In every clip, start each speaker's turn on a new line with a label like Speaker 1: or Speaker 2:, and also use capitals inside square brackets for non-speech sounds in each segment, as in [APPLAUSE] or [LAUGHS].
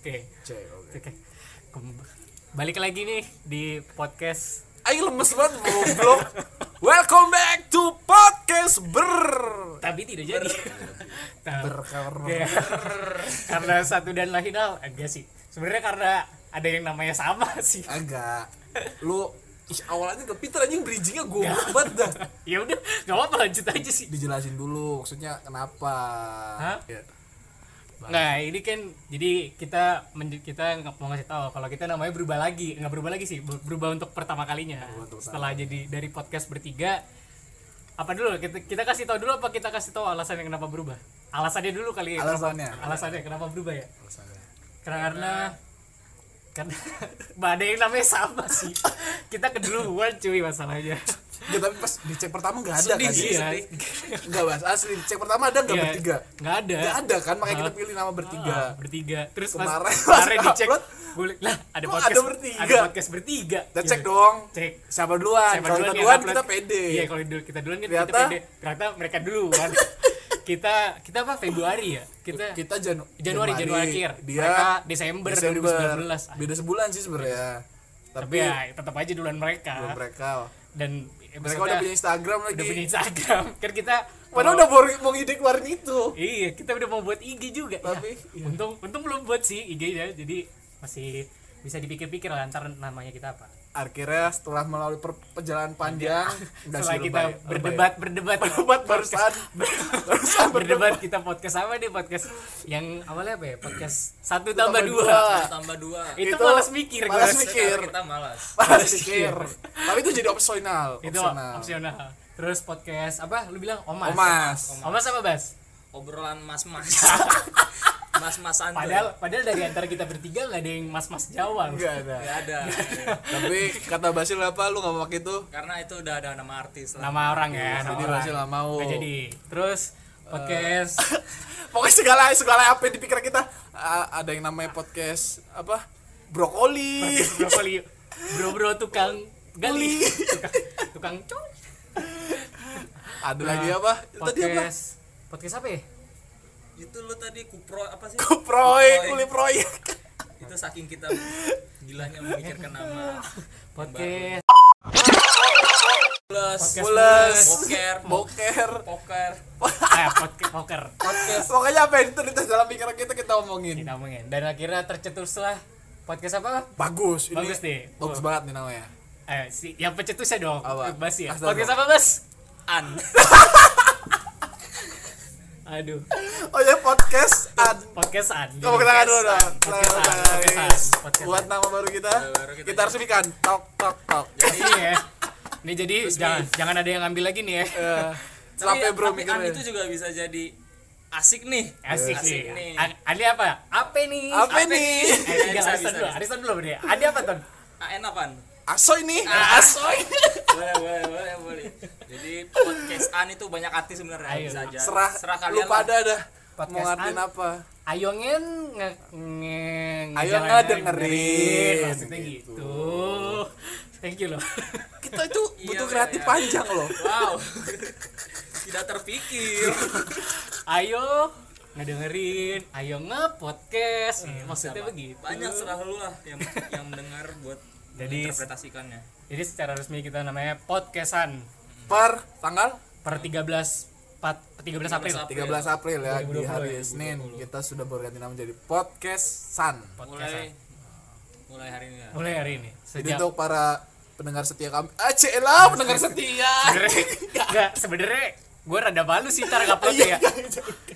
Speaker 1: Oke.
Speaker 2: Jay, oke.
Speaker 1: Oke. Kem- Balik lagi nih di podcast
Speaker 2: Aing lemes banget goblok. Welcome back to podcast ber
Speaker 1: tapi tidak jadi. [LAUGHS] Nah,
Speaker 2: berkarma.
Speaker 1: oke. karena satu dan lain hal enggak sih. Sebenarnya karena ada yang namanya sama [LAUGHS] sih.
Speaker 2: Agak lu ih, awalnya ke Peter anjing bridgingnya goblok banget dah.
Speaker 1: Ya udah, nggak apa-apa lanjut aja sih.
Speaker 2: Dijelasin dulu maksudnya kenapa.
Speaker 1: Hah?
Speaker 2: Ya.
Speaker 1: Nah, ini kan jadi kita men- kita nggak mau ngasih tahu kalau kita namanya berubah lagi, nggak berubah lagi sih, ber- berubah untuk pertama kalinya.
Speaker 2: Berubah untuk
Speaker 1: Setelah jadi dari podcast bertiga apa dulu kita, kita kasih tahu dulu apa kita kasih tahu alasan yang kenapa berubah? Alasannya dulu kali ya.
Speaker 2: Alasannya.
Speaker 1: Kenapa, alasannya kenapa berubah ya?
Speaker 2: Alasannya.
Speaker 1: Karena karena [LAUGHS] ada yang namanya sama sih. kita keduluan cuy masalahnya.
Speaker 2: Ya, tapi pas dicek pertama nggak ada
Speaker 3: Sedih
Speaker 2: kan?
Speaker 3: sih, sedih.
Speaker 2: Nggak bahas asli. Dicek pertama ada nggak
Speaker 1: Iya,
Speaker 2: bertiga?
Speaker 1: Nggak ada.
Speaker 2: Nggak ada kan? Makanya kita pilih nama bertiga.
Speaker 1: Ah, bertiga. Terus pas-
Speaker 2: Kemarin pas
Speaker 1: kemarin dicek
Speaker 2: upload,
Speaker 1: boleh lah ada
Speaker 2: kok
Speaker 1: podcast
Speaker 2: ada bertiga?
Speaker 1: ada podcast bertiga.
Speaker 2: Kita cek
Speaker 1: Iya.
Speaker 2: dong.
Speaker 1: Cek.
Speaker 2: Siapa duluan?
Speaker 1: Siapa
Speaker 2: Kalau kita
Speaker 1: yang
Speaker 2: duluan
Speaker 1: upload?
Speaker 2: kita pede.
Speaker 1: Iya, kalau dulu kita duluan kan kita
Speaker 2: Ternyata-
Speaker 1: pede. Ternyata mereka
Speaker 2: [LAUGHS]
Speaker 1: duluan. kita kita apa Februari ya? Kita,
Speaker 2: kita Janu-
Speaker 1: Januari, Januari akhir.
Speaker 2: dia
Speaker 1: Mereka Desember 2019.
Speaker 2: beda sebulan sih sebenarnya
Speaker 1: Iya. tapi
Speaker 2: tapi,
Speaker 1: ya tetap aja duluan mereka.
Speaker 2: belum mereka
Speaker 1: Dan ya,
Speaker 2: mereka
Speaker 1: maksudnya
Speaker 2: udah punya Instagram lagi
Speaker 1: udah punya Instagram. [LAUGHS] Kan kita
Speaker 2: padahal
Speaker 1: mau-
Speaker 2: udah mau, mau ide keluarin itu
Speaker 1: Iya, kita udah mau buat IG juga. Ya,
Speaker 2: Tapi, iya.
Speaker 1: untung untung belum buat sih IG-nya. Jadi masih bisa dipikir-pikir lah ntar namanya kita apa.
Speaker 2: akhirnya setelah melalui per- perjalanan panjang [LAUGHS]
Speaker 1: Iya.
Speaker 2: udah
Speaker 1: Setelah kita
Speaker 2: sih, lebay- lebay.
Speaker 1: berdebat, berdebat,
Speaker 2: Berdebat
Speaker 1: [LAUGHS]
Speaker 2: barusan. Barusan
Speaker 1: berdebat kita podcast sama nih podcast yang awalnya apa ya? Podcast satu tambah
Speaker 2: tambah
Speaker 1: dua.
Speaker 2: dua.
Speaker 3: tambah dua
Speaker 1: Itu,
Speaker 2: Itu
Speaker 1: malas mikir,
Speaker 2: malas
Speaker 1: gua.
Speaker 2: mikir. Pikir.
Speaker 3: kita malas
Speaker 2: Malas pikir
Speaker 1: [LAUGHS]
Speaker 2: tapi itu jadi opsional
Speaker 1: Itu opsional. Terus podcast apa? Lu bilang omas.
Speaker 2: Omas.
Speaker 1: Omas apa Bas?
Speaker 3: obrolan mas
Speaker 2: [LAUGHS]
Speaker 3: mas mas masan
Speaker 1: Padahal padahal dari antara kita bertiga nggak ada yang mas-mas Jawa. loh.
Speaker 2: enggak ada
Speaker 1: Iya.
Speaker 3: nggak ada
Speaker 2: tapi kata Basil apa lu nggak mau pakai itu
Speaker 3: karena itu udah ada nama artis lah
Speaker 1: Nama orang ya, nama
Speaker 2: jadi
Speaker 1: orang.
Speaker 2: Basil nggak mau Eh.
Speaker 1: Nggak jadi. Terus
Speaker 2: [COUGHS]
Speaker 1: podcast
Speaker 2: pokoknya segala segala apa yang dipikir kita a- ada yang namanya podcast apa brokoli
Speaker 1: brokoli bro-bro tukang gali tukang tukang cong
Speaker 2: ada lagi apa tadi apa
Speaker 1: podcast podcast apa ya
Speaker 3: itu lu tadi kupro apa sih
Speaker 2: kuproy
Speaker 3: Kuproy.
Speaker 2: kuli proyek
Speaker 3: itu saking kita gilanya memikirkan nama
Speaker 1: podcast
Speaker 3: plus
Speaker 2: pules
Speaker 3: poker
Speaker 2: boker
Speaker 3: poker
Speaker 1: eh podcast poker
Speaker 3: podcast
Speaker 2: pokoknya apa yang terlintas dalam pikiran kita kita omongin
Speaker 1: kita omongin dan akhirnya tercetuslah podcast apa
Speaker 2: bagus ini
Speaker 1: Bagus nih.
Speaker 2: bagus banget nih namanya
Speaker 1: eh si yang pencetusnya dong
Speaker 2: Apa?
Speaker 1: Bas ya
Speaker 2: Astaga.
Speaker 1: podcast apa Bas
Speaker 3: an
Speaker 1: [LAUGHS] aduh
Speaker 2: oh ya podcast ad
Speaker 1: podcastan
Speaker 2: kamu kenakan dulu dong
Speaker 1: Podcastan,
Speaker 2: Kenakan,
Speaker 1: podcastan,
Speaker 2: guys.
Speaker 1: podcastan.
Speaker 2: buat nama baru kita
Speaker 3: baru kita-
Speaker 2: kita resmikan tok tok tok
Speaker 1: iya ini jadi jangan jangan ada yang ambil lagi nih ya
Speaker 2: Eh,
Speaker 3: tapi, ya,
Speaker 2: sampai bro
Speaker 3: tapi an
Speaker 2: mikirnya
Speaker 3: itu juga bisa jadi asik nih
Speaker 1: asik
Speaker 3: Asik
Speaker 1: sih
Speaker 3: nih.
Speaker 1: A- ada apa apa nih
Speaker 2: apa
Speaker 3: Apa
Speaker 2: nih
Speaker 3: nih?
Speaker 1: Eh, jangan Arisan
Speaker 3: Bisa, bisa,
Speaker 1: dulu,
Speaker 3: bisa.
Speaker 1: Arisan dulu berarti. Ada apa ton?
Speaker 3: an apaan
Speaker 2: asoy nih
Speaker 3: Asoy. Ah, boleh, boleh, boleh, boleh. Jadi podcastan itu banyak arti sebenarnya.
Speaker 1: Ayo.
Speaker 3: Bisa aja.
Speaker 2: serah,
Speaker 3: serah
Speaker 2: lu
Speaker 3: kalian.
Speaker 2: pada dah mau
Speaker 1: Podcastan.
Speaker 2: ngartiin apa
Speaker 1: Ayo ngen nge, nge,
Speaker 2: Ayo
Speaker 1: jangan
Speaker 2: ngedengerin.
Speaker 1: Maksudnya gitu. Thank you loh. [LAUGHS]
Speaker 2: kita itu
Speaker 3: Iya,
Speaker 2: butuh
Speaker 3: iya,
Speaker 2: kreatif
Speaker 3: iya.
Speaker 2: panjang loh
Speaker 3: lah. Wow. [LAUGHS] Tidak terpikir.
Speaker 1: Ayo ngedengerin, ayo nge-podcast.
Speaker 3: Hmm,
Speaker 1: Eh, maksudnya begitu.
Speaker 3: Banyak serah lu lah yang yang mendengar buat
Speaker 1: Jadi-
Speaker 3: interpretasikannya.
Speaker 1: Jadi secara resmi kita namanya podcastan
Speaker 2: per tanggal
Speaker 1: per 13 4, 13 April.
Speaker 3: 13 April.
Speaker 2: 13 April ya di
Speaker 1: 2020,
Speaker 2: hari
Speaker 1: ya,
Speaker 2: Senin kita sudah berganti nama jadi podcast Sun
Speaker 1: Podcastan.
Speaker 3: Mulai mulai hari ini ya.
Speaker 1: Mulai hari ini.
Speaker 2: jadi
Speaker 1: Sejak
Speaker 2: untuk para pendengar setia kami ah celah pendengar setia
Speaker 1: sebenarnya enggak sebenarnya gue rada malu sih ntar
Speaker 3: Iya.
Speaker 1: nguploadnya ya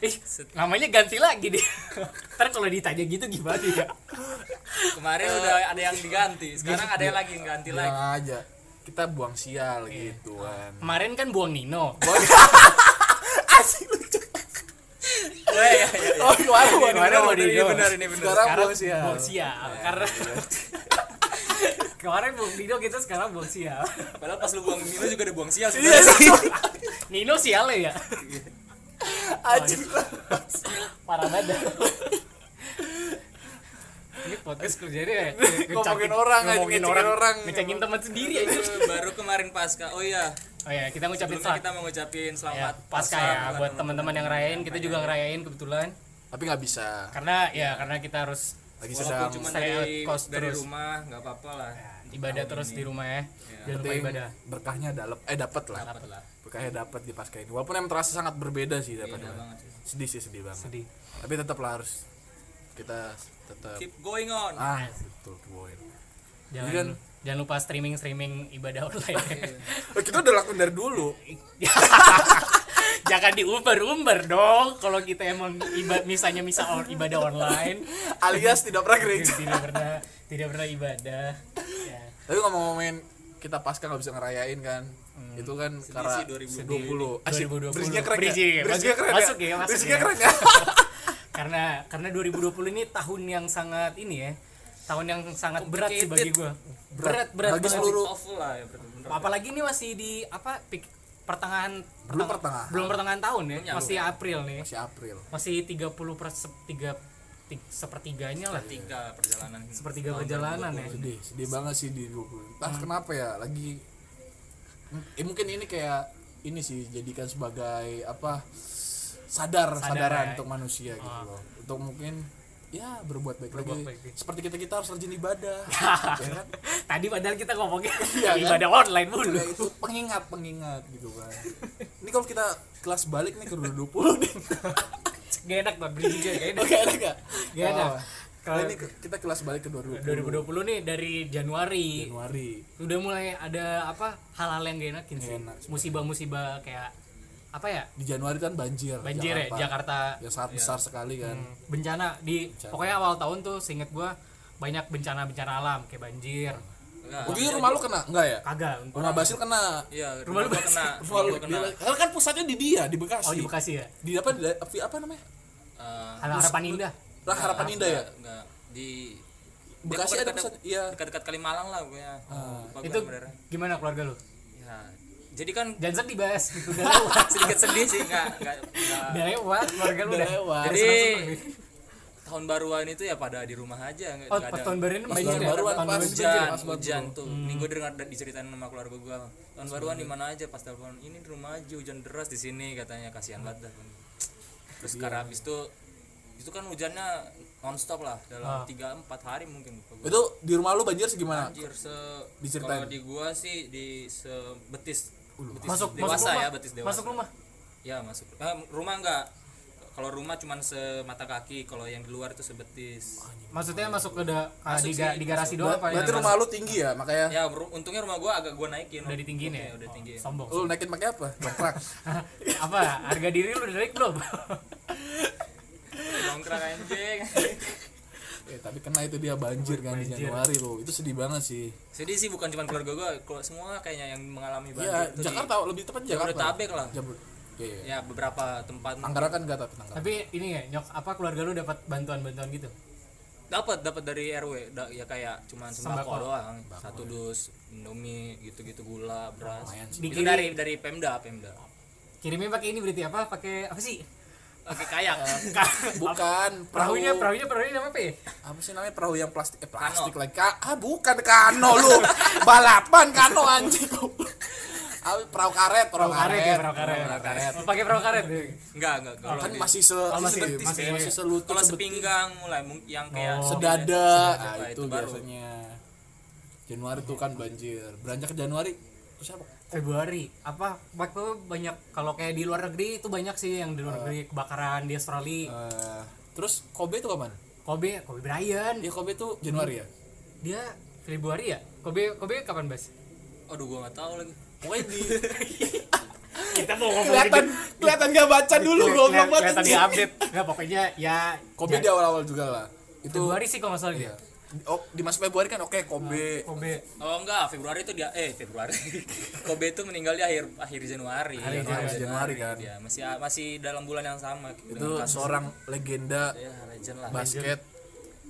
Speaker 1: Ih, namanya ganti lagi deh [LAUGHS] ntar kalau ditanya gitu gimana ya
Speaker 3: Kemarin udah
Speaker 1: Eh.
Speaker 3: ada yang diganti, sekarang ada yang lagi yang
Speaker 1: Iya.
Speaker 3: ganti lagi.
Speaker 2: bilang aja kita buang sial gitu kan
Speaker 1: kemarin kan buang Nino
Speaker 2: asik lucu
Speaker 3: Oh iya iya.
Speaker 2: oh gimana
Speaker 1: Ini
Speaker 2: gimana
Speaker 1: bener,
Speaker 2: gimana?
Speaker 1: ini
Speaker 2: Iya,
Speaker 1: bener,
Speaker 3: ini bener.
Speaker 2: sekarang Iya, buang sial
Speaker 1: buang sial karena [LAUGHS] kemarin buang Nino kita sekarang buang sial
Speaker 3: Padahal pas lu buang Milo juga udah buang sial
Speaker 2: iya
Speaker 3: sebenarnya.
Speaker 2: sih
Speaker 1: Nino sial ya
Speaker 2: [LAUGHS] anjing
Speaker 1: parah banget dah. ini podcast kerjanya ya? ngecapin-
Speaker 2: Ngomongin orang, anjing,
Speaker 1: ngomongin
Speaker 2: ngecengin
Speaker 1: orang,
Speaker 2: orang.
Speaker 1: ngecengin teman sendiri aja
Speaker 3: Baru kemarin pasca. Oh iya,
Speaker 1: oh ya kita ngucapin
Speaker 3: sebelumnya
Speaker 1: selamat
Speaker 3: kita mau ngucapin
Speaker 1: ya,
Speaker 3: selamat
Speaker 1: pasca
Speaker 3: Pasca
Speaker 1: ya buat teman-teman yang ngerayain kita juga ngerayain kebetulan
Speaker 2: tapi nggak bisa
Speaker 1: karena ya karena kita harus
Speaker 2: lagi sedang
Speaker 3: Walaupun cuma
Speaker 1: Stay
Speaker 3: dari,
Speaker 1: at cost
Speaker 3: dari
Speaker 1: terus. Iya.
Speaker 3: rumah nggak apa-apa lah.
Speaker 1: ibadah terus di rumah ya jangan lupa
Speaker 2: Iya. penting
Speaker 1: ibadah
Speaker 2: berkahnya dapat eh dapat lah
Speaker 1: Dapat lah.
Speaker 2: berkahnya dapat di pasca ini walaupun emang terasa sangat berbeda sih
Speaker 1: Iya.
Speaker 2: daripada
Speaker 3: Beda banget sih.
Speaker 2: sedih sih sedih banget
Speaker 1: sedih
Speaker 2: tapi tetaplah harus kita tetap
Speaker 3: Keep going on.
Speaker 2: ah betul boy
Speaker 1: jangan
Speaker 2: Jadi kan-
Speaker 1: jangan lupa streaming streaming ibadah online
Speaker 2: Eh, kita udah lakuin dari dulu
Speaker 1: [LAUGHS] jangan diumbar-umbar dong kalau kita emang iba, misalnya misa or, ibadah online
Speaker 2: alias tidak pernah [LAUGHS]
Speaker 1: [LAUGHS]
Speaker 2: gereja
Speaker 1: tidak pernah tidak pernah ibadah ya.
Speaker 2: tapi ngomong-ngomongin kita pasca nggak bisa ngerayain kan itu kan karena
Speaker 3: sih 2020.
Speaker 2: 2020 asik
Speaker 1: 2020.
Speaker 2: bridge-nya keren ya?
Speaker 1: Bridge-nya ya,
Speaker 2: Bridge-nya
Speaker 1: masuk-
Speaker 2: keren
Speaker 1: masuk ya, masuk
Speaker 2: Bridge-nya
Speaker 1: ya. [LAUGHS]
Speaker 2: keren ya
Speaker 1: karena karena 2020 ini tahun yang sangat ini ya tahun yang sangat berat sih bagi gue berat berat
Speaker 2: Bagi
Speaker 1: banget sih.
Speaker 2: seluruh-
Speaker 3: Awful lah ya bener-bener.
Speaker 1: apalagi ini masih di apa pik- pertengahan
Speaker 2: Belum
Speaker 1: perteng-
Speaker 2: pertengahan.
Speaker 1: belum pertengahan tahun ya
Speaker 3: Belum
Speaker 1: masih April nih
Speaker 2: masih April
Speaker 1: masih 30 per tiga ti- sepertiganya lah [LAUGHS]
Speaker 3: Tiga perjalanan.
Speaker 1: sepertiga perjalanan ya Hmm.
Speaker 2: sedih sedih banget sih di 20 entah kenapa ya lagi eh mungkin ini kayak ini sih jadikan sebagai apa sadar
Speaker 1: Sadar
Speaker 2: sadaran
Speaker 1: ya.
Speaker 2: untuk manusia gitu loh untuk mungkin ya berbuat baik
Speaker 1: Berbuat
Speaker 2: lagi
Speaker 1: baik, ya.
Speaker 2: seperti kita kita harus rajin
Speaker 1: [LAUGHS]
Speaker 2: ibadah ya kan
Speaker 1: tadi padahal kita ngomongnya
Speaker 2: Iya, kan?
Speaker 1: ibadah online dulu
Speaker 2: Ya, itu pengingat pengingat gitu kan ini kalau kita kelas balik nih ke
Speaker 1: [LAUGHS]
Speaker 2: 2020 nih
Speaker 1: gak enak banget beli juga gak enak
Speaker 2: oke ada nggak
Speaker 1: Gak ada.
Speaker 2: Oh,
Speaker 1: Kalau-
Speaker 2: ini ke- kita kelas balik ke 2020
Speaker 1: 2020 nih dari Januari
Speaker 2: Januari
Speaker 1: udah mulai ada apa hal-hal yang gak enakin sih
Speaker 2: Gak enak sebenarnya.
Speaker 1: musibah-musibah kayak apa ya
Speaker 2: di Januari kan banjir
Speaker 1: banjir ya Jakarta
Speaker 2: yang sangat besar sekali kan
Speaker 1: Hmm. bencana di
Speaker 2: Bencana.
Speaker 1: pokoknya awal tahun tuh seinget gua banyak bencana-bencana alam kayak banjir
Speaker 3: Enggak.
Speaker 2: Waktu itu rumah lu kena enggak ya?
Speaker 1: kagak
Speaker 2: Rumah Basil kena.
Speaker 3: Iya,
Speaker 1: Rumah lu
Speaker 3: rumah gua
Speaker 2: [LAUGHS]
Speaker 3: kena.
Speaker 2: Rumah lu
Speaker 3: gua kena. eh,
Speaker 2: Karena kan pusatnya di dia di Bekasi.
Speaker 1: oh di Bekasi ya
Speaker 2: Di apa di, di- apa namanya?
Speaker 3: Eh,
Speaker 1: Hal harapan indah
Speaker 3: Nah,
Speaker 2: Lah harapan indah ya.
Speaker 3: enggak, enggak. di
Speaker 2: Bekasi ada pusat. Ah, Iya.
Speaker 3: dekat-dekat Kalimalang lah gue ya. Lupa gue
Speaker 1: itu
Speaker 3: daerah.
Speaker 1: gimana keluarga lu
Speaker 3: Ya. Jadi
Speaker 2: [LAUGHS]
Speaker 3: kan
Speaker 1: jangan sedih bahas gitu udah lewat
Speaker 3: [LAUGHS] sedikit sedih sih enggak enggak enggak.
Speaker 1: udah lewat keluarga lu
Speaker 2: Udah
Speaker 1: udah
Speaker 2: lewat.
Speaker 1: udah
Speaker 3: Jadi
Speaker 1: senang-senang.
Speaker 3: tahun baruan itu ya pada di rumah aja enggak
Speaker 1: oh
Speaker 3: enggak
Speaker 1: pas tahun baru ini
Speaker 2: Pas
Speaker 1: banjir
Speaker 2: tahun
Speaker 1: ya?
Speaker 2: baruan,
Speaker 1: Tahun
Speaker 2: pas
Speaker 1: baru Hmm.
Speaker 2: hujan.
Speaker 1: banjir.
Speaker 3: hujan
Speaker 2: pas banget,
Speaker 3: hujan tuh nih gue dengar da- diceritain sama keluarga gue tahun baruan di mana aja pas telepon ini di rumah aja hujan deras di sini katanya kasihan banget dah. terus
Speaker 1: Iya.
Speaker 3: sekarang habis itu itu kan hujannya nonstop lah
Speaker 1: Ah.
Speaker 3: dalam tiga empat hari mungkin lupa gua.
Speaker 2: Itu di rumah lu banjir segimana?
Speaker 3: Anjir se
Speaker 2: Diceritain.
Speaker 3: kalau di gua sih di se betis, betis
Speaker 1: masuk masuk
Speaker 3: dewasa
Speaker 1: rumah
Speaker 3: ya betis dewasa
Speaker 1: masuk rumah
Speaker 3: ya masuk Eh, rumah enggak kalau rumah cuman semata kaki kalau yang di luar itu sebetis
Speaker 1: maksudnya masuk ke da- ah, di, ga- di garasi doang apa
Speaker 2: Berarti rumah lu tinggi ya, makanya
Speaker 3: ya ru- untungnya rumah gua agak gua naikin
Speaker 1: udah ditinggiin ya
Speaker 3: Iya, udah tinggi
Speaker 1: Oh, sombong
Speaker 2: lu naikin pakai apa? Dongkrak.
Speaker 1: apa harga diri lu udah naik belum [LAUGHS]
Speaker 3: nongkrong anjing
Speaker 2: [LAUGHS]
Speaker 3: [LAUGHS]
Speaker 2: eh, tapi kena itu dia banjir kan di
Speaker 1: Banjir.
Speaker 2: Januari lu. Itu sedih banget sih.
Speaker 3: sedih sih bukan cuma keluarga gua kalau semua kayaknya yang mengalami banjir
Speaker 2: Iya,
Speaker 3: itu di-
Speaker 2: Jakarta lebih tepat Jakarta.
Speaker 3: Jabodetabek lah.
Speaker 2: Jabut. Iya. iya.
Speaker 3: ya beberapa tempat
Speaker 2: Tangerang kan enggak tapi Tangerang.
Speaker 1: tapi ini ya nyok apa keluarga lu dapat bantuan-bantuan gitu
Speaker 3: dapat dapat dari RW da- ya kayak cuman sembako,
Speaker 1: Sembako.
Speaker 3: doang satu dus indomie gitu-gitu gula beras
Speaker 2: Lumayan sih.
Speaker 3: itu dari dari Pemda Pemda
Speaker 1: kirimnya pakai ini berarti apa pakai apa sih
Speaker 3: pakai kayak
Speaker 2: Bukan perahu.
Speaker 1: perahunya perahunya perahunya nama apa ya
Speaker 2: Apa sih namanya perahu yang plastik? Eh, plastik lagi. Ka- ah, bukan kano lu. Balapan kano anjing. Ah, perahu karet,
Speaker 1: perahu
Speaker 2: perahu,
Speaker 1: karet ya perahu karet
Speaker 2: Perahu karet.
Speaker 1: Oh, pakai perahu karet
Speaker 3: enggak enggak enggak.
Speaker 2: Kan
Speaker 3: Kalau di-
Speaker 2: masih se
Speaker 1: Oh, masih-
Speaker 2: sebetis,
Speaker 1: masih- iya.
Speaker 2: kayak masih selutut,
Speaker 3: kalau
Speaker 2: sebet-
Speaker 3: sepinggang mulai mung- yang kayak
Speaker 1: Oh.
Speaker 2: sedada.
Speaker 3: Sedada,
Speaker 2: Ah, itu,
Speaker 3: itu baru.
Speaker 2: biasanya. Januari tuh kan banjir. Beranjak ke Januari terus apa?
Speaker 1: Februari apa waktu banyak kalau kayak di luar negeri itu banyak sih yang di luar negeri kebakaran di Australia
Speaker 2: Eh, terus Kobe tuh kapan?
Speaker 1: Kobe Kobe Bryant
Speaker 2: Ya Kobe tuh Januari ya.
Speaker 1: Hmm. dia Februari ya Kobe Kobe kapan bas
Speaker 3: aduh gua nggak tahu lagi
Speaker 2: Pokoknya di
Speaker 1: kita mau
Speaker 2: kelihatan kelihatan gak baca dulu goblok banget.
Speaker 1: kelihatan di
Speaker 2: anjing.
Speaker 1: update nggak pokoknya ya
Speaker 2: Kobe
Speaker 1: ja-
Speaker 2: di awal-awal juga lah. Itu
Speaker 1: Februari sih kalau nggak salah dia
Speaker 2: Iya. Oh, di mas Februari kan oke Kobe.
Speaker 1: Kobe
Speaker 3: [LAUGHS] oh enggak Februari itu dia eh Februari [LAUGHS] Kobe itu meninggal di akhir akhir Januari
Speaker 2: Januari, Januari kan.
Speaker 3: ya masih masih dalam bulan yang sama
Speaker 2: Itu seorang legenda
Speaker 3: ya legend lah
Speaker 2: basket,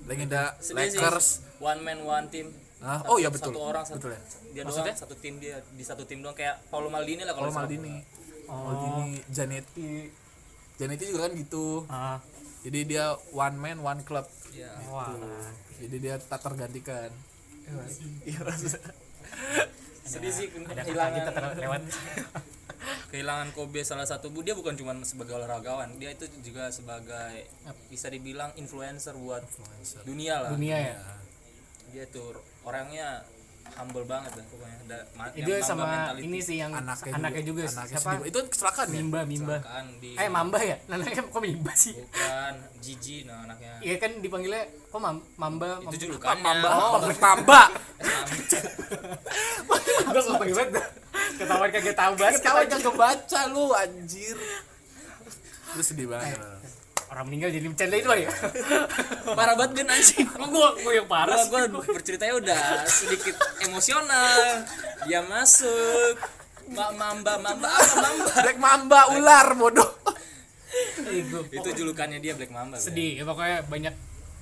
Speaker 2: legenda
Speaker 3: Sedih sih,
Speaker 2: Lakers.
Speaker 3: one man one team
Speaker 2: Ah,
Speaker 3: Satu-
Speaker 2: oh iya betul.
Speaker 3: satu orang satu
Speaker 2: betul ya.
Speaker 3: dia doang satu tim dia di satu tim doang kayak Paul Maldini lah
Speaker 2: Kalau
Speaker 3: kalau
Speaker 2: Maldini, Maldini, Janetti. Janetti juga kan gitu.
Speaker 1: ah
Speaker 2: Jadi dia one man one club.
Speaker 3: ya
Speaker 1: wah
Speaker 2: Jadi dia tak tergantikan. Iya. maksudnya.
Speaker 3: sedih sih
Speaker 1: ada kata
Speaker 3: kehilangan
Speaker 1: kita terlewat
Speaker 3: kehilangan Kobe salah satu bu dia bukan cuma sebagai olahragawan dia itu juga sebagai bisa dibilang influencer buat dunia lah
Speaker 1: dunia ya
Speaker 3: dia tuh orangnya humble banget dah pokoknya ada ma-
Speaker 1: itu ya
Speaker 3: yang mamba
Speaker 1: sama
Speaker 3: mentality.
Speaker 1: ini sih yang anaknya, juga, sih.
Speaker 2: anaknya
Speaker 1: siapa
Speaker 2: sendiri. itu kan kecelakaan ya
Speaker 1: mimba mimba
Speaker 3: Kecelakaan di
Speaker 1: eh mamba ya [LAUGHS] namanya kok mimba sih
Speaker 3: bukan Gigi nah anaknya
Speaker 1: Iya kan dipanggilnya kok mam- mamba
Speaker 3: itu
Speaker 1: mamba
Speaker 3: julukannya
Speaker 2: mamba
Speaker 1: [LAUGHS]
Speaker 3: Oh,
Speaker 2: apa mamba
Speaker 1: gue nggak pengen [LAUGHS] banget ketahuan kagak tahu basket
Speaker 2: ketawa
Speaker 1: aja.
Speaker 2: jangan kebaca lu anjir lu sedih banget
Speaker 1: orang meninggal jadi bercanda itu ya
Speaker 3: parah banget kan anjing
Speaker 1: gue gue yang [LAUGHS] parah
Speaker 3: Gua
Speaker 1: sih.
Speaker 3: gua berceritanya udah sedikit emosional. Dia masuk. Mbak Mamba, Mamba apa Mamba?
Speaker 2: Black mamba ular bodoh
Speaker 1: Ih, Iya, gua-
Speaker 3: Itu julukannya dia Black Mamba. Bro.
Speaker 1: sedih ya pokoknya banyak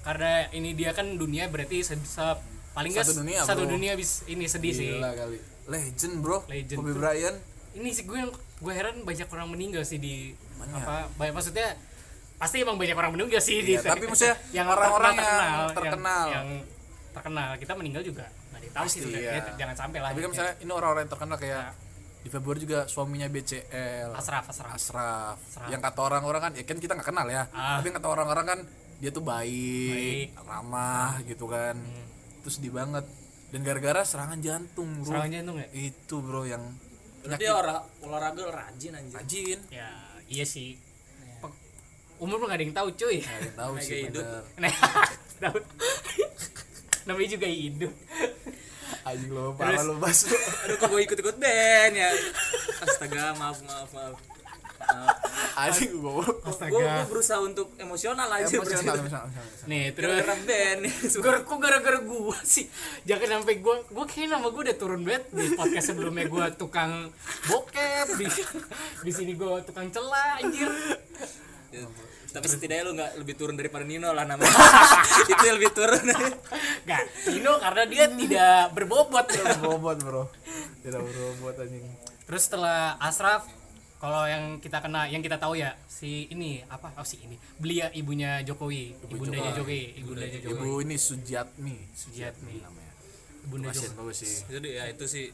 Speaker 1: karena ini dia kan dunia berarti se- se- paling nggak
Speaker 2: Satu
Speaker 1: se-
Speaker 2: dunia,
Speaker 1: satu
Speaker 2: bro.
Speaker 1: dunia bis ini sedih Iya sih
Speaker 2: gila kali legend bro
Speaker 1: Legend.
Speaker 2: Kobe Bryant
Speaker 1: ini sih gue yang gue heran banyak orang meninggal sih di
Speaker 2: Banyak.
Speaker 1: apa banyak maksudnya pasti emang banyak orang meninggal sih di
Speaker 2: Iya, tapi
Speaker 1: [LAUGHS]
Speaker 2: maksudnya orang-orang yang terkenal.
Speaker 1: yang, yang terkenal kita meninggal juga nggak ada yang tahu sih
Speaker 2: Pasti,
Speaker 1: sebenarnya
Speaker 2: iya.
Speaker 1: jangan sampai lah
Speaker 2: tapi kan misalnya ini orang-orang yang terkenal kayak di Februari juga suaminya BCL
Speaker 1: asraf asraf
Speaker 2: Asraf,
Speaker 1: Asraf.
Speaker 2: yang kata orang-orang kan ya kan kita nggak kenal ya
Speaker 1: Ah.
Speaker 2: tapi yang kata orang-orang kan dia tuh baik,
Speaker 1: Baik.
Speaker 2: ramah gitu kan terus sedih banget dan gara-gara serangan jantung bro
Speaker 1: serangan jantung ya
Speaker 2: itu bro yang
Speaker 3: Terus dia olah, olahraga rajin anjir.
Speaker 2: rajin
Speaker 1: ya iya sih Pe- umur mah nggak ada yang tahu cuy
Speaker 2: Nggak ada yang tahu sih
Speaker 3: Kayak hidup.
Speaker 2: bener
Speaker 1: nah tahu. namanya juga hidup
Speaker 2: anjing lo parah lo bas lo.
Speaker 3: [LAUGHS] Aduh kok gue ikut-ikut band ya. Astaga, maaf maaf maaf. maaf.
Speaker 2: anjing gue
Speaker 3: Gue berusaha untuk emosional aja
Speaker 2: emosional
Speaker 3: bercerita.
Speaker 2: emosional emosional.
Speaker 1: nih terus [LAUGHS]
Speaker 3: Gara-gara
Speaker 2: [LAUGHS]
Speaker 3: band ya. Suka
Speaker 1: Gara- kok gara-gara gua sih jangan sampai gua gua kayak nama gua udah turun banget di podcast sebelumnya gua tukang bokep di di sini gua tukang celah anjir
Speaker 3: Ya, Tapi setidaknya lu nggak lebih turun daripada Nino lah namanya. [LAUGHS] Itu yang lebih
Speaker 2: [LAUGHS]
Speaker 3: turun.
Speaker 1: nggak Dino karena dia tidak berbobot
Speaker 2: robot bro tidak robot anjing
Speaker 1: terus setelah Asraf kalau yang kita kena yang kita tahu ya si ini apa oh si ini belia ibunya Jokowi ibundanya Jokowi ibundanya Jokowi
Speaker 2: ibu ini Sujatmi
Speaker 1: Sujatmi
Speaker 2: namanya
Speaker 1: ibunda
Speaker 2: kasian
Speaker 1: Jokowi
Speaker 2: banget sih
Speaker 3: Jadi ya itu sih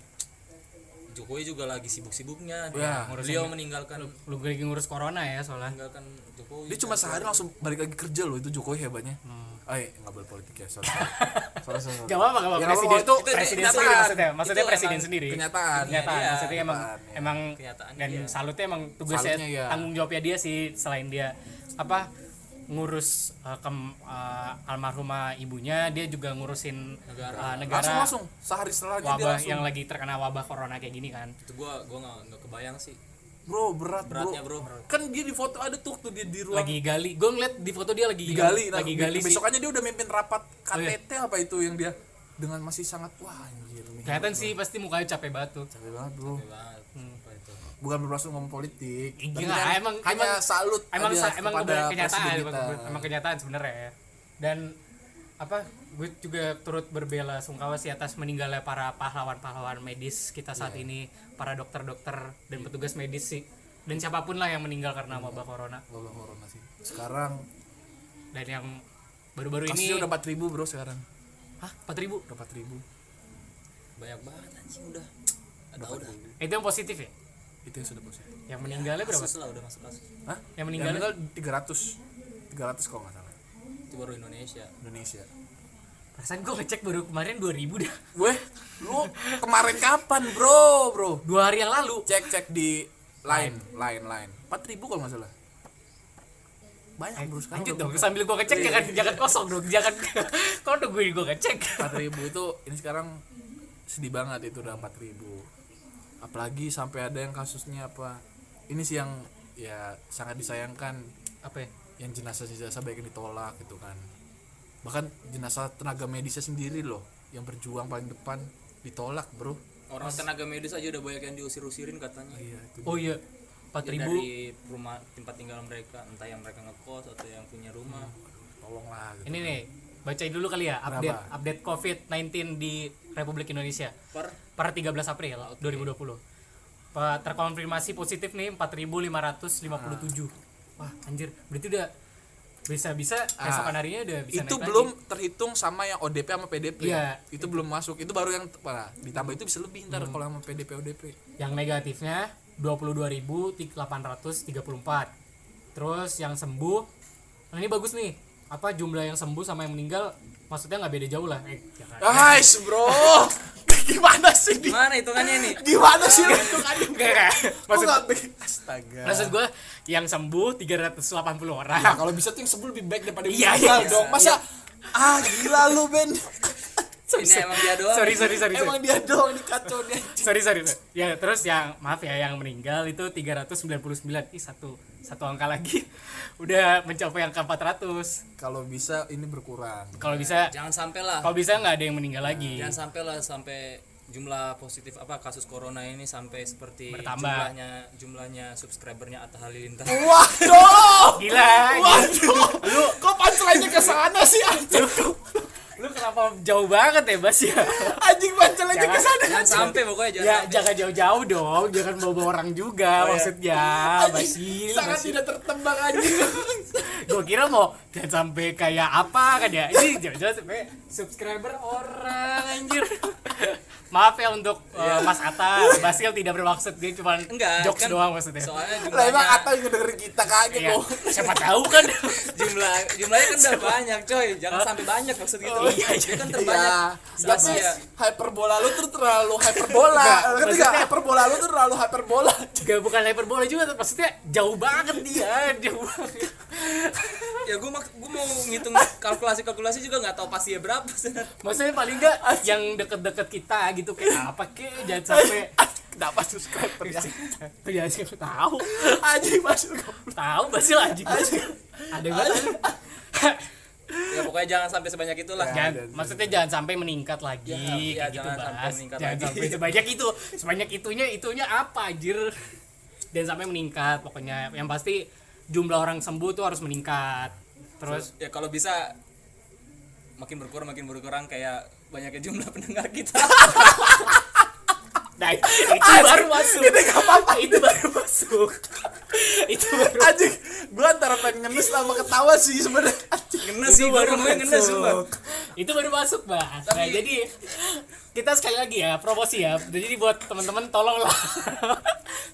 Speaker 3: Jokowi juga lagi sibuk-sibuknya.
Speaker 2: Ya.
Speaker 3: Beliau meninggalkan
Speaker 1: lu gue lagi ngurus corona ya soalnya
Speaker 3: meninggalkan Jokowi.
Speaker 2: dia cuma sehari langsung balik lagi kerja loh itu Jokowi hebatnya
Speaker 1: Hmm.
Speaker 2: eh nggak boleh politik ya
Speaker 1: [LAUGHS]
Speaker 2: sorry sorry. sorry sorry, sorry.
Speaker 1: Gak apa-apa, gak apa-apa.
Speaker 2: Ya, nggak
Speaker 1: Presiden,
Speaker 2: apa-apa, itu
Speaker 1: presiden
Speaker 2: kenyataan.
Speaker 1: sendiri maksudnya. Maksudnya
Speaker 3: Itu
Speaker 1: presiden
Speaker 3: emang
Speaker 1: sendiri.
Speaker 2: kenyataan ya,
Speaker 1: kenyataan
Speaker 3: Iya,
Speaker 1: maksudnya emang
Speaker 2: kenyataannya.
Speaker 1: emang
Speaker 3: Kenyataannya
Speaker 1: dan
Speaker 3: iya.
Speaker 1: salutnya emang tugasnya
Speaker 2: Salutnya iya.
Speaker 1: tanggung jawabnya dia sih selain dia apa ngurus eh, kem- eh, almarhumah ibunya dia juga ngurusin eh, negara,
Speaker 2: langsung langsung sehari setelah aja dia
Speaker 1: wabah iya.
Speaker 2: langsung
Speaker 1: yang lagi terkena wabah corona kayak gini kan
Speaker 3: itu gua gua nggak nggak kebayang sih
Speaker 2: bro berat bro.
Speaker 3: beratnya bro.
Speaker 2: kan dia di foto ada tuh tuh dia di ruang
Speaker 1: lagi gali gue ngeliat di foto dia lagi
Speaker 2: digali nah,
Speaker 1: lagi gali sih
Speaker 2: besokannya dia udah mimpin rapat
Speaker 1: Oh, iya.
Speaker 2: KTT apa itu yang dia dengan masih sangat wah anjir nih
Speaker 1: kelihatan sih pasti mukanya capek banget tuh
Speaker 2: capek banget bro
Speaker 3: Gila banget.
Speaker 2: Hmm.
Speaker 3: Apa itu?
Speaker 2: bukan bermaksud ngomong politik
Speaker 1: Iya,
Speaker 2: tapi
Speaker 1: nggak,
Speaker 2: kan
Speaker 1: emang-
Speaker 2: hanya
Speaker 1: emang-
Speaker 2: salut
Speaker 1: emang
Speaker 2: aja
Speaker 1: sa- emang
Speaker 2: kepada
Speaker 1: kebenar- kenyataan
Speaker 2: presiden
Speaker 1: emang,
Speaker 2: kita.
Speaker 1: emang kenyataan sebenarnya ya. dan apa gue juga turut berbela sungkawa sih atas meninggalnya para pahlawan-pahlawan medis kita saat ini para dokter-dokter dan petugas medis sih dan siapapun lah yang meninggal karena wabah corona
Speaker 2: Wabah corona sih sekarang
Speaker 1: dan yang baru-baru
Speaker 2: kasusnya
Speaker 1: ini
Speaker 2: udah 4000 bro sekarang
Speaker 1: hah 4000
Speaker 2: udah 4000
Speaker 3: Banyak banget anjing udah. Ada udah.
Speaker 1: itu yang positif ya
Speaker 2: itu yang sudah ya. positif
Speaker 1: yang meninggalnya berapa
Speaker 3: Kasus lah udah masuk kasus.
Speaker 2: Hah?
Speaker 1: yang meninggalnya
Speaker 2: tiga ratus tiga ratus kalau nggak salah
Speaker 3: Itu baru Indonesia.
Speaker 2: Indonesia
Speaker 1: perasaan gue ngecek baru kemarin 2000 dah
Speaker 2: weh lu kemarin kapan bro bro
Speaker 1: dua hari yang lalu
Speaker 2: cek cek di line line line empat ribu kalau nggak salah banyak bro sekarang
Speaker 1: lanjut dong sambil gue ngecek jangan jangan kosong dong jangan [LAUGHS] kau udah gue gue ngecek
Speaker 2: empat ribu itu ini sekarang sedih banget itu udah empat ribu apalagi sampai ada yang kasusnya apa ini sih yang ya sangat disayangkan
Speaker 1: apa ya
Speaker 2: yang jenazah jenazah banyak yang ditolak gitu kan bahkan jenazah tenaga medisnya sendiri loh yang berjuang paling depan ditolak bro
Speaker 3: Orang tenaga medis aja udah banyak yang diusir-usirin katanya.
Speaker 2: iya itu
Speaker 1: Oh iya, empat
Speaker 3: Ya,
Speaker 1: ribu.
Speaker 3: dari rumah tempat tinggal mereka entah yang mereka ngekos atau yang punya rumah
Speaker 2: tolonglah gitu.
Speaker 1: Ini nih, bacain dulu kali ya update
Speaker 2: Kenapa?
Speaker 1: update COVID-19 di Republik Indonesia
Speaker 3: per
Speaker 1: per 13 April 2020. Pa- Terkonfirmasi positif nih 4.557. Wah, anjir, berarti udah bisa-bisa keesokan harinya udah bisa
Speaker 2: Ah, itu
Speaker 1: naik lagi.
Speaker 2: belum terhitung sama yang ODP sama PDP.
Speaker 1: Iya.
Speaker 2: Hmm. Itu belum masuk. Itu baru yang parah. Ditambah itu bisa lebih ntar kalau sama PDP ODP.
Speaker 1: Yang negatifnya 22.834 terus yang sembuh nah ini bagus nih apa jumlah yang sembuh sama yang meninggal maksudnya nggak beda jauh lah eh, jangan.
Speaker 2: Guys, bro. [LAUGHS] Gimana sih di?
Speaker 3: Gimana hitungannya
Speaker 2: [LAUGHS]
Speaker 3: nih?
Speaker 2: Gimana sih lu itu kan?
Speaker 1: maksud
Speaker 2: Astaga.
Speaker 1: maksud gue yang sembuh 380 orang
Speaker 2: Nah, kalau bisa tuh yang sebelum lebih baik daripada
Speaker 1: Iya,
Speaker 2: yang meninggal
Speaker 1: iya.
Speaker 2: dong. Masa ah gila lu Ben.
Speaker 3: Ini emang dia doang.
Speaker 1: [LAUGHS] sorry sorry sorry sorry
Speaker 2: Emang dia doang ini kacau dia.
Speaker 1: sorry sorry sorry. ya terus yang maaf ya yang meninggal itu 399 ih satu satu angka lagi [LAUGHS] udah mencapai angka 400
Speaker 2: Kalau bisa ini berkurang.
Speaker 1: kalau bisa
Speaker 3: Jangan sampai lah.
Speaker 1: kalau bisa nggak ada yang meninggal lagi
Speaker 3: Jangan sampai lah sampai jumlah positif apa kasus corona ini sampai seperti
Speaker 1: Bertambah.
Speaker 3: jumlahnya jumlahnya subscribernya Atta Halilintar.
Speaker 2: Waduh.
Speaker 1: gila
Speaker 2: Waduh. Lu kok pancelannya ke sana sih anjing?
Speaker 1: lu kenapa jauh banget ya Bas ya
Speaker 2: Anjing pancelannya ke sana.
Speaker 3: jangan sampai pokoknya jangan
Speaker 1: ya
Speaker 3: sampai.
Speaker 1: jangan jauh-jauh dong jangan bawa bawa orang juga maksudnya
Speaker 2: Oh, ya. Anjing,
Speaker 1: Basil
Speaker 2: Sangat
Speaker 1: Basil
Speaker 2: tidak tertembak
Speaker 1: [LAUGHS]
Speaker 2: anjing.
Speaker 1: gue kira mau jangan sampai kayak apa kan ya ini jangan-jangan sampai subscriber orang anjir [LAUGHS] maaf ya untuk
Speaker 2: Iya.
Speaker 1: uh, Mas Atta Basil tidak bermaksud dia cuma
Speaker 3: enggak
Speaker 1: jokes
Speaker 3: kan
Speaker 1: doang maksudnya
Speaker 2: Lah
Speaker 3: Soalnya
Speaker 2: emang
Speaker 3: jumlahnya
Speaker 2: Atta yang dengerin kita kaget
Speaker 1: Iya.
Speaker 2: kok.
Speaker 1: siapa tahu kan
Speaker 3: jumlah jumlahnya kan udah banyak coy. Jangan sampai banyak maksud gitu. iya, Dia kan terbanyak.
Speaker 2: Iya,
Speaker 3: Sama
Speaker 2: tapi
Speaker 3: ya.
Speaker 2: hyperbola lu tuh terlalu hyperbola. Ngerti gak?
Speaker 1: maksudnya-
Speaker 2: Hyperbola lu tuh terlalu hyperbola.
Speaker 1: juga bukan hyperbola juga maksudnya jauh banget dia jauh banget
Speaker 3: Ya gua mak- gua mau ngitung kalkulasi-kalkulasi juga nggak tahu pastinya berapa. Sen.
Speaker 1: maksudnya paling enggak yang deket-deket kita gitu kayak apa kek jangan sampai
Speaker 2: Kenapa subscriber ya?
Speaker 1: Tuh, jangan sampai Iya, tahu
Speaker 2: Anjing masuk
Speaker 1: tahu Basil anjing ada banget
Speaker 3: Ya pokoknya jangan sampai sebanyak itulah.
Speaker 1: jangan,
Speaker 2: dan-
Speaker 1: maksudnya jangan sampai meningkat lagi
Speaker 3: Ya,
Speaker 1: kayak
Speaker 3: iya,
Speaker 1: gitu
Speaker 3: jangan
Speaker 1: Bas.
Speaker 3: sampai meningkat
Speaker 1: jangan
Speaker 3: lagi.
Speaker 1: sampai sebanyak itu sebanyak itunya itunya apa anjir dan sampai meningkat pokoknya yang pasti jumlah orang sembuh tuh harus meningkat terus
Speaker 3: Ya kalau bisa makin berkurang makin berkurang kayak banyaknya jumlah pendengar kita.
Speaker 1: [LAUGHS] nah itu baru masuk itu apa-apa itu baru masuk itu baru
Speaker 2: Anjing, gua antara pengen ngenes sama ketawa sih sebenarnya.
Speaker 3: Ngenes sih baru gue ngenes sumpah.
Speaker 1: itu baru masuk bas nah,
Speaker 3: Tapi-
Speaker 1: jadi kita sekali lagi ya promosi ya jadi buat teman-teman tolonglah [LAUGHS]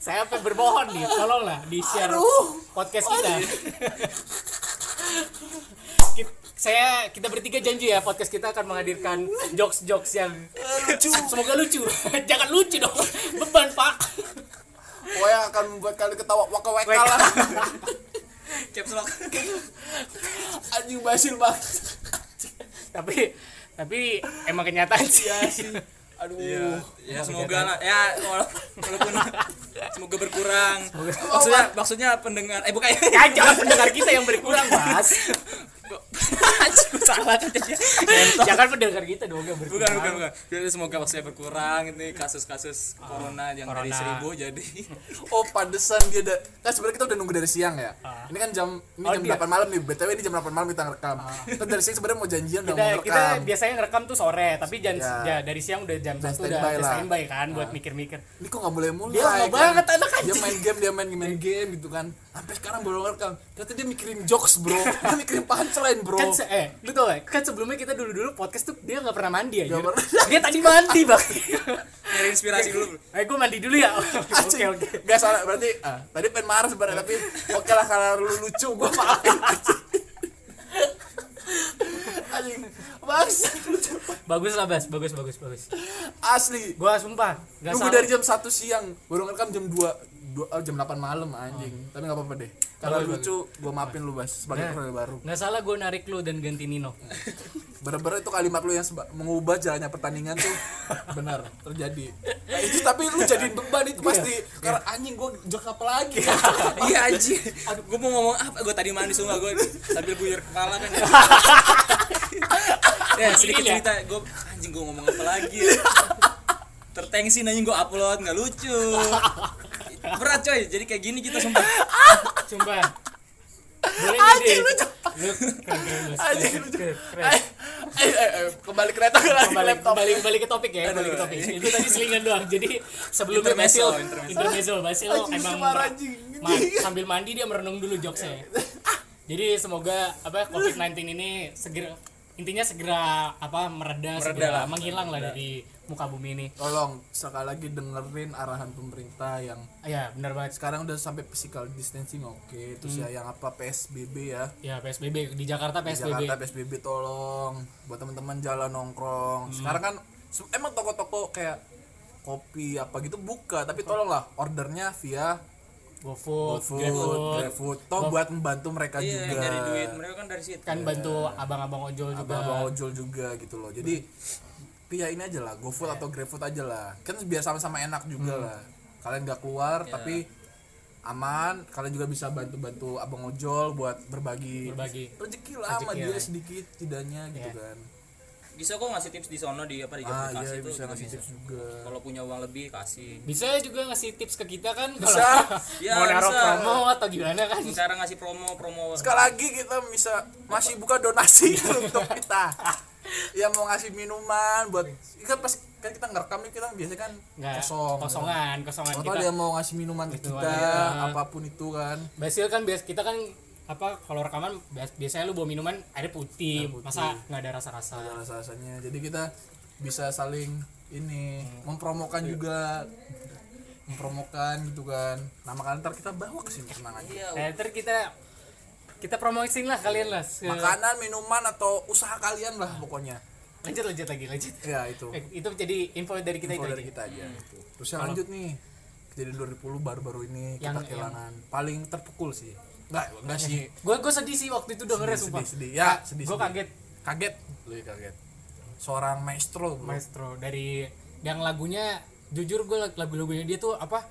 Speaker 1: saya sampai berbohon nih tolonglah di share
Speaker 2: Aduh.
Speaker 1: podcast kita [LAUGHS] Kit- saya kita bertiga janji ya podcast kita akan menghadirkan jokes jokes yang
Speaker 2: Lucu.
Speaker 1: [LAUGHS] semoga lucu jangan lucu dong beban pak
Speaker 2: Pokoknya akan membuat kalian ketawa waka weka lah.
Speaker 3: Caps lock.
Speaker 2: Anjing basil banget.
Speaker 1: tapi tapi emang kenyataan sih
Speaker 2: Iya sih. Aduh.
Speaker 1: Iya.
Speaker 3: ya semoga lah ya wala- walaupun semoga berkurang
Speaker 1: Semoga-
Speaker 3: maksudnya maksudnya pendengar eh bukan [LAUGHS]
Speaker 1: ya [LAUGHS] jangan pendengar kita yang berkurang mas
Speaker 3: Anjing, gua salah kan jadi
Speaker 1: jangan pendengar kita dong yang berkurang
Speaker 3: bukan bukan bukan jadi semoga maksudnya berkurang ini kasus-kasus corona yang
Speaker 1: Ah, corona.
Speaker 3: dari seribu jadi [LAUGHS]
Speaker 2: Oh pantesan dia ada Kan sebenarnya kita udah nunggu dari siang ya Ini kan jam Ini
Speaker 1: Oh,
Speaker 2: jam
Speaker 1: dia-
Speaker 2: 8 malam nih BTW ini jam 8 malam kita ngerekam Kita dari siang sebenarnya mau janjian udah
Speaker 1: kita,
Speaker 2: mau
Speaker 1: kita
Speaker 2: ngerekam
Speaker 1: biasanya ngerekam tuh sore tapi jam
Speaker 2: Ya.
Speaker 1: ya, dari siang udah jam
Speaker 2: Udah
Speaker 1: satu udah
Speaker 2: standby
Speaker 1: udah
Speaker 2: lah.
Speaker 1: standby kan buat mikir-mikir
Speaker 2: Ini kok gak boleh mulai
Speaker 1: dia lama
Speaker 2: kan?
Speaker 1: banget anak
Speaker 2: dia
Speaker 1: anjing
Speaker 2: main game dia main main game gitu kan sampai sekarang baru ngerekam ternyata dia mikirin jokes
Speaker 1: [LAUGHS]
Speaker 2: bro dia mikirin punchline bro
Speaker 1: kan se- eh lu tau gak kan sebelumnya kita dulu dulu podcast tuh dia nggak pernah mandi aja
Speaker 2: Nggak pernah.
Speaker 1: dia tadi mandi
Speaker 2: [LAUGHS]
Speaker 1: bang
Speaker 3: nyari inspirasi dulu
Speaker 1: eh gue mandi dulu ya oke
Speaker 2: Anjing.
Speaker 1: [LAUGHS] oke
Speaker 2: Nggak salah berarti ah, tadi pengen marah sebenarnya tapi oke lah karena lu lucu gua maafin [LAUGHS] anjing bang
Speaker 1: bagus lah bas bagus bagus bagus
Speaker 2: asli
Speaker 1: gue sumpah nggak
Speaker 2: nunggu
Speaker 1: salah
Speaker 2: dari jam 1 siang baru ngerekam jam 2 dua, oh, jam 8 malam anjing
Speaker 1: Oh.
Speaker 2: tapi nggak apa-apa deh kalau
Speaker 1: Bagus,
Speaker 2: lucu gua maafin lu bas sebagai
Speaker 1: Nah.
Speaker 2: personel baru
Speaker 1: nggak salah gue narik lu dan ganti Nino
Speaker 2: Bener-bener itu kalimat lu yang seba- mengubah jalannya pertandingan tuh benar terjadi. Nah, itu tapi lu jadiin beban itu pasti karena anjing gua jok apa lagi.
Speaker 3: iya anjing aduh gue mau ngomong apa gue tadi mandi sumpah gue sambil buyar kepala
Speaker 2: [LAUGHS]
Speaker 3: kan ya sedikit
Speaker 2: Iya.
Speaker 1: Ini ya.
Speaker 3: cerita gue anjing gue ngomong apa lagi ya? tertensi nanya gue upload nggak lucu berat coy jadi kayak gini kita sumpah
Speaker 1: sumpah boleh nih,
Speaker 2: Anjing, lu
Speaker 1: Dek. lu keren keren Bas.
Speaker 2: [LAUGHS] Anjing, lu
Speaker 1: Keren, keren.
Speaker 2: eh, eh, eh, eh, kembali kereta ke lagi ke
Speaker 1: balik
Speaker 2: laptop. iya.
Speaker 1: balik balik ke topik ya balik ke
Speaker 3: Aduh,
Speaker 1: topik itu tadi selingan doang jadi sebelum
Speaker 3: Intermezzo,
Speaker 1: Basil
Speaker 3: intermezzo.
Speaker 1: intermezzo Basil
Speaker 2: Anjing
Speaker 1: emang
Speaker 2: semar
Speaker 1: mer-
Speaker 2: anjing.
Speaker 1: ma- sambil mandi dia merenung dulu jokesnya jadi semoga apa covid 19 ini segera intinya segera apa mereda, segera
Speaker 3: lah.
Speaker 1: menghilang lah dari muka bumi ini
Speaker 2: Tolong sekali lagi dengerin arahan pemerintah yang
Speaker 1: Ah, ya benar banget
Speaker 2: sekarang udah sampai physical distancing oke, terus ya yang apa PSBB ya.
Speaker 1: ya psbb di jakarta
Speaker 2: Di
Speaker 1: psbb
Speaker 2: Jakarta PSBB tolong buat teman-teman jalan nongkrong. Sekarang kan se- emang toko-toko kayak kopi apa gitu buka, tapi tolonglah ordernya via
Speaker 1: gofood
Speaker 2: GoFood,
Speaker 1: GrabFood.
Speaker 2: GrabFood, toh buat membantu mereka
Speaker 3: iya yang
Speaker 2: juga.
Speaker 3: nyari duit mereka kan dari situ
Speaker 1: kan bantu abang-abang ojol juga
Speaker 2: Iya. Abang-abang ojol juga gitu loh. Jadi ya ini aja lah, GoFood atau GrabFood aja lah. Kan biar sama-sama enak juga lah. Kalian nggak keluar tapi aman, kalian juga bisa bantu-bantu abang ojol buat berbagi,
Speaker 1: Berbagi.
Speaker 2: rezeki lah sama
Speaker 1: Rezeki
Speaker 2: dia
Speaker 1: lah.
Speaker 2: sedikit tidaknya gitu kan.
Speaker 3: bisa kok ngasih tips di sono di apa di
Speaker 2: Ah
Speaker 3: aplikasi
Speaker 2: iya
Speaker 3: itu
Speaker 2: bisa
Speaker 3: juga
Speaker 2: ngasih
Speaker 3: bisa.
Speaker 2: tips juga.
Speaker 3: kalau punya uang lebih kasih
Speaker 1: bisa juga ngasih tips ke kita kan kalau
Speaker 2: Bisa. Iya,
Speaker 3: Ya,
Speaker 1: mau naruh
Speaker 3: bisa.
Speaker 1: promo atau gimana kan
Speaker 3: cara ngasih promo promo
Speaker 2: Sekali lagi kita bisa masih buka donasi [LAUGHS] untuk kita. ya mau ngasih minuman buat kan pas kan kita ngerekam nih kita biasanya kan
Speaker 1: nggak
Speaker 2: kosong.
Speaker 1: kosongan kosongan
Speaker 2: Atau
Speaker 1: kita
Speaker 2: ada yang mau ngasih minuman ke
Speaker 1: Gitu,
Speaker 2: kita,
Speaker 1: ada.
Speaker 2: apapun itu kan.
Speaker 1: Basil kan bias kita kan apa kalau rekaman bias- biasanya lu bawa minuman ada putih,
Speaker 2: Air putih.
Speaker 1: masa nggak ada rasa-rasa
Speaker 2: Ada rasa-rasanya. Jadi kita bisa saling ini mempromokan juga mempromokan gitu kan. Nama kalian ntar kita bawa ke sini tenang aja.
Speaker 3: iya
Speaker 1: nah, ntar kita kita promosiin lah kalian lah Se-
Speaker 2: Makanan, minuman atau usaha kalian lah pokoknya.
Speaker 1: lanjut lanjut lagi lanjut
Speaker 2: Ya itu.
Speaker 1: Eh, itu jadi info dari kita
Speaker 2: info
Speaker 1: itu
Speaker 2: dari
Speaker 1: aja. Hmm.
Speaker 2: kita aja. Gitu. Terus yang lanjut nih kejadian 2010 baru-baru ini
Speaker 1: Yang-
Speaker 2: kita kehilangan paling terpukul sih. Enggak, enggak
Speaker 1: [LAUGHS]
Speaker 2: sih.
Speaker 1: gue gue sedih sih waktu itu dengernya
Speaker 2: Sedih,
Speaker 1: sumpah
Speaker 2: sedih, sedih. Ya, sedih,
Speaker 1: gue
Speaker 2: sedih.
Speaker 1: kaget
Speaker 2: Kaget, lu ya kaget. Seorang maestro, bro.
Speaker 1: maestro dari yang lagunya jujur gue lagu-lagunya dia tuh apa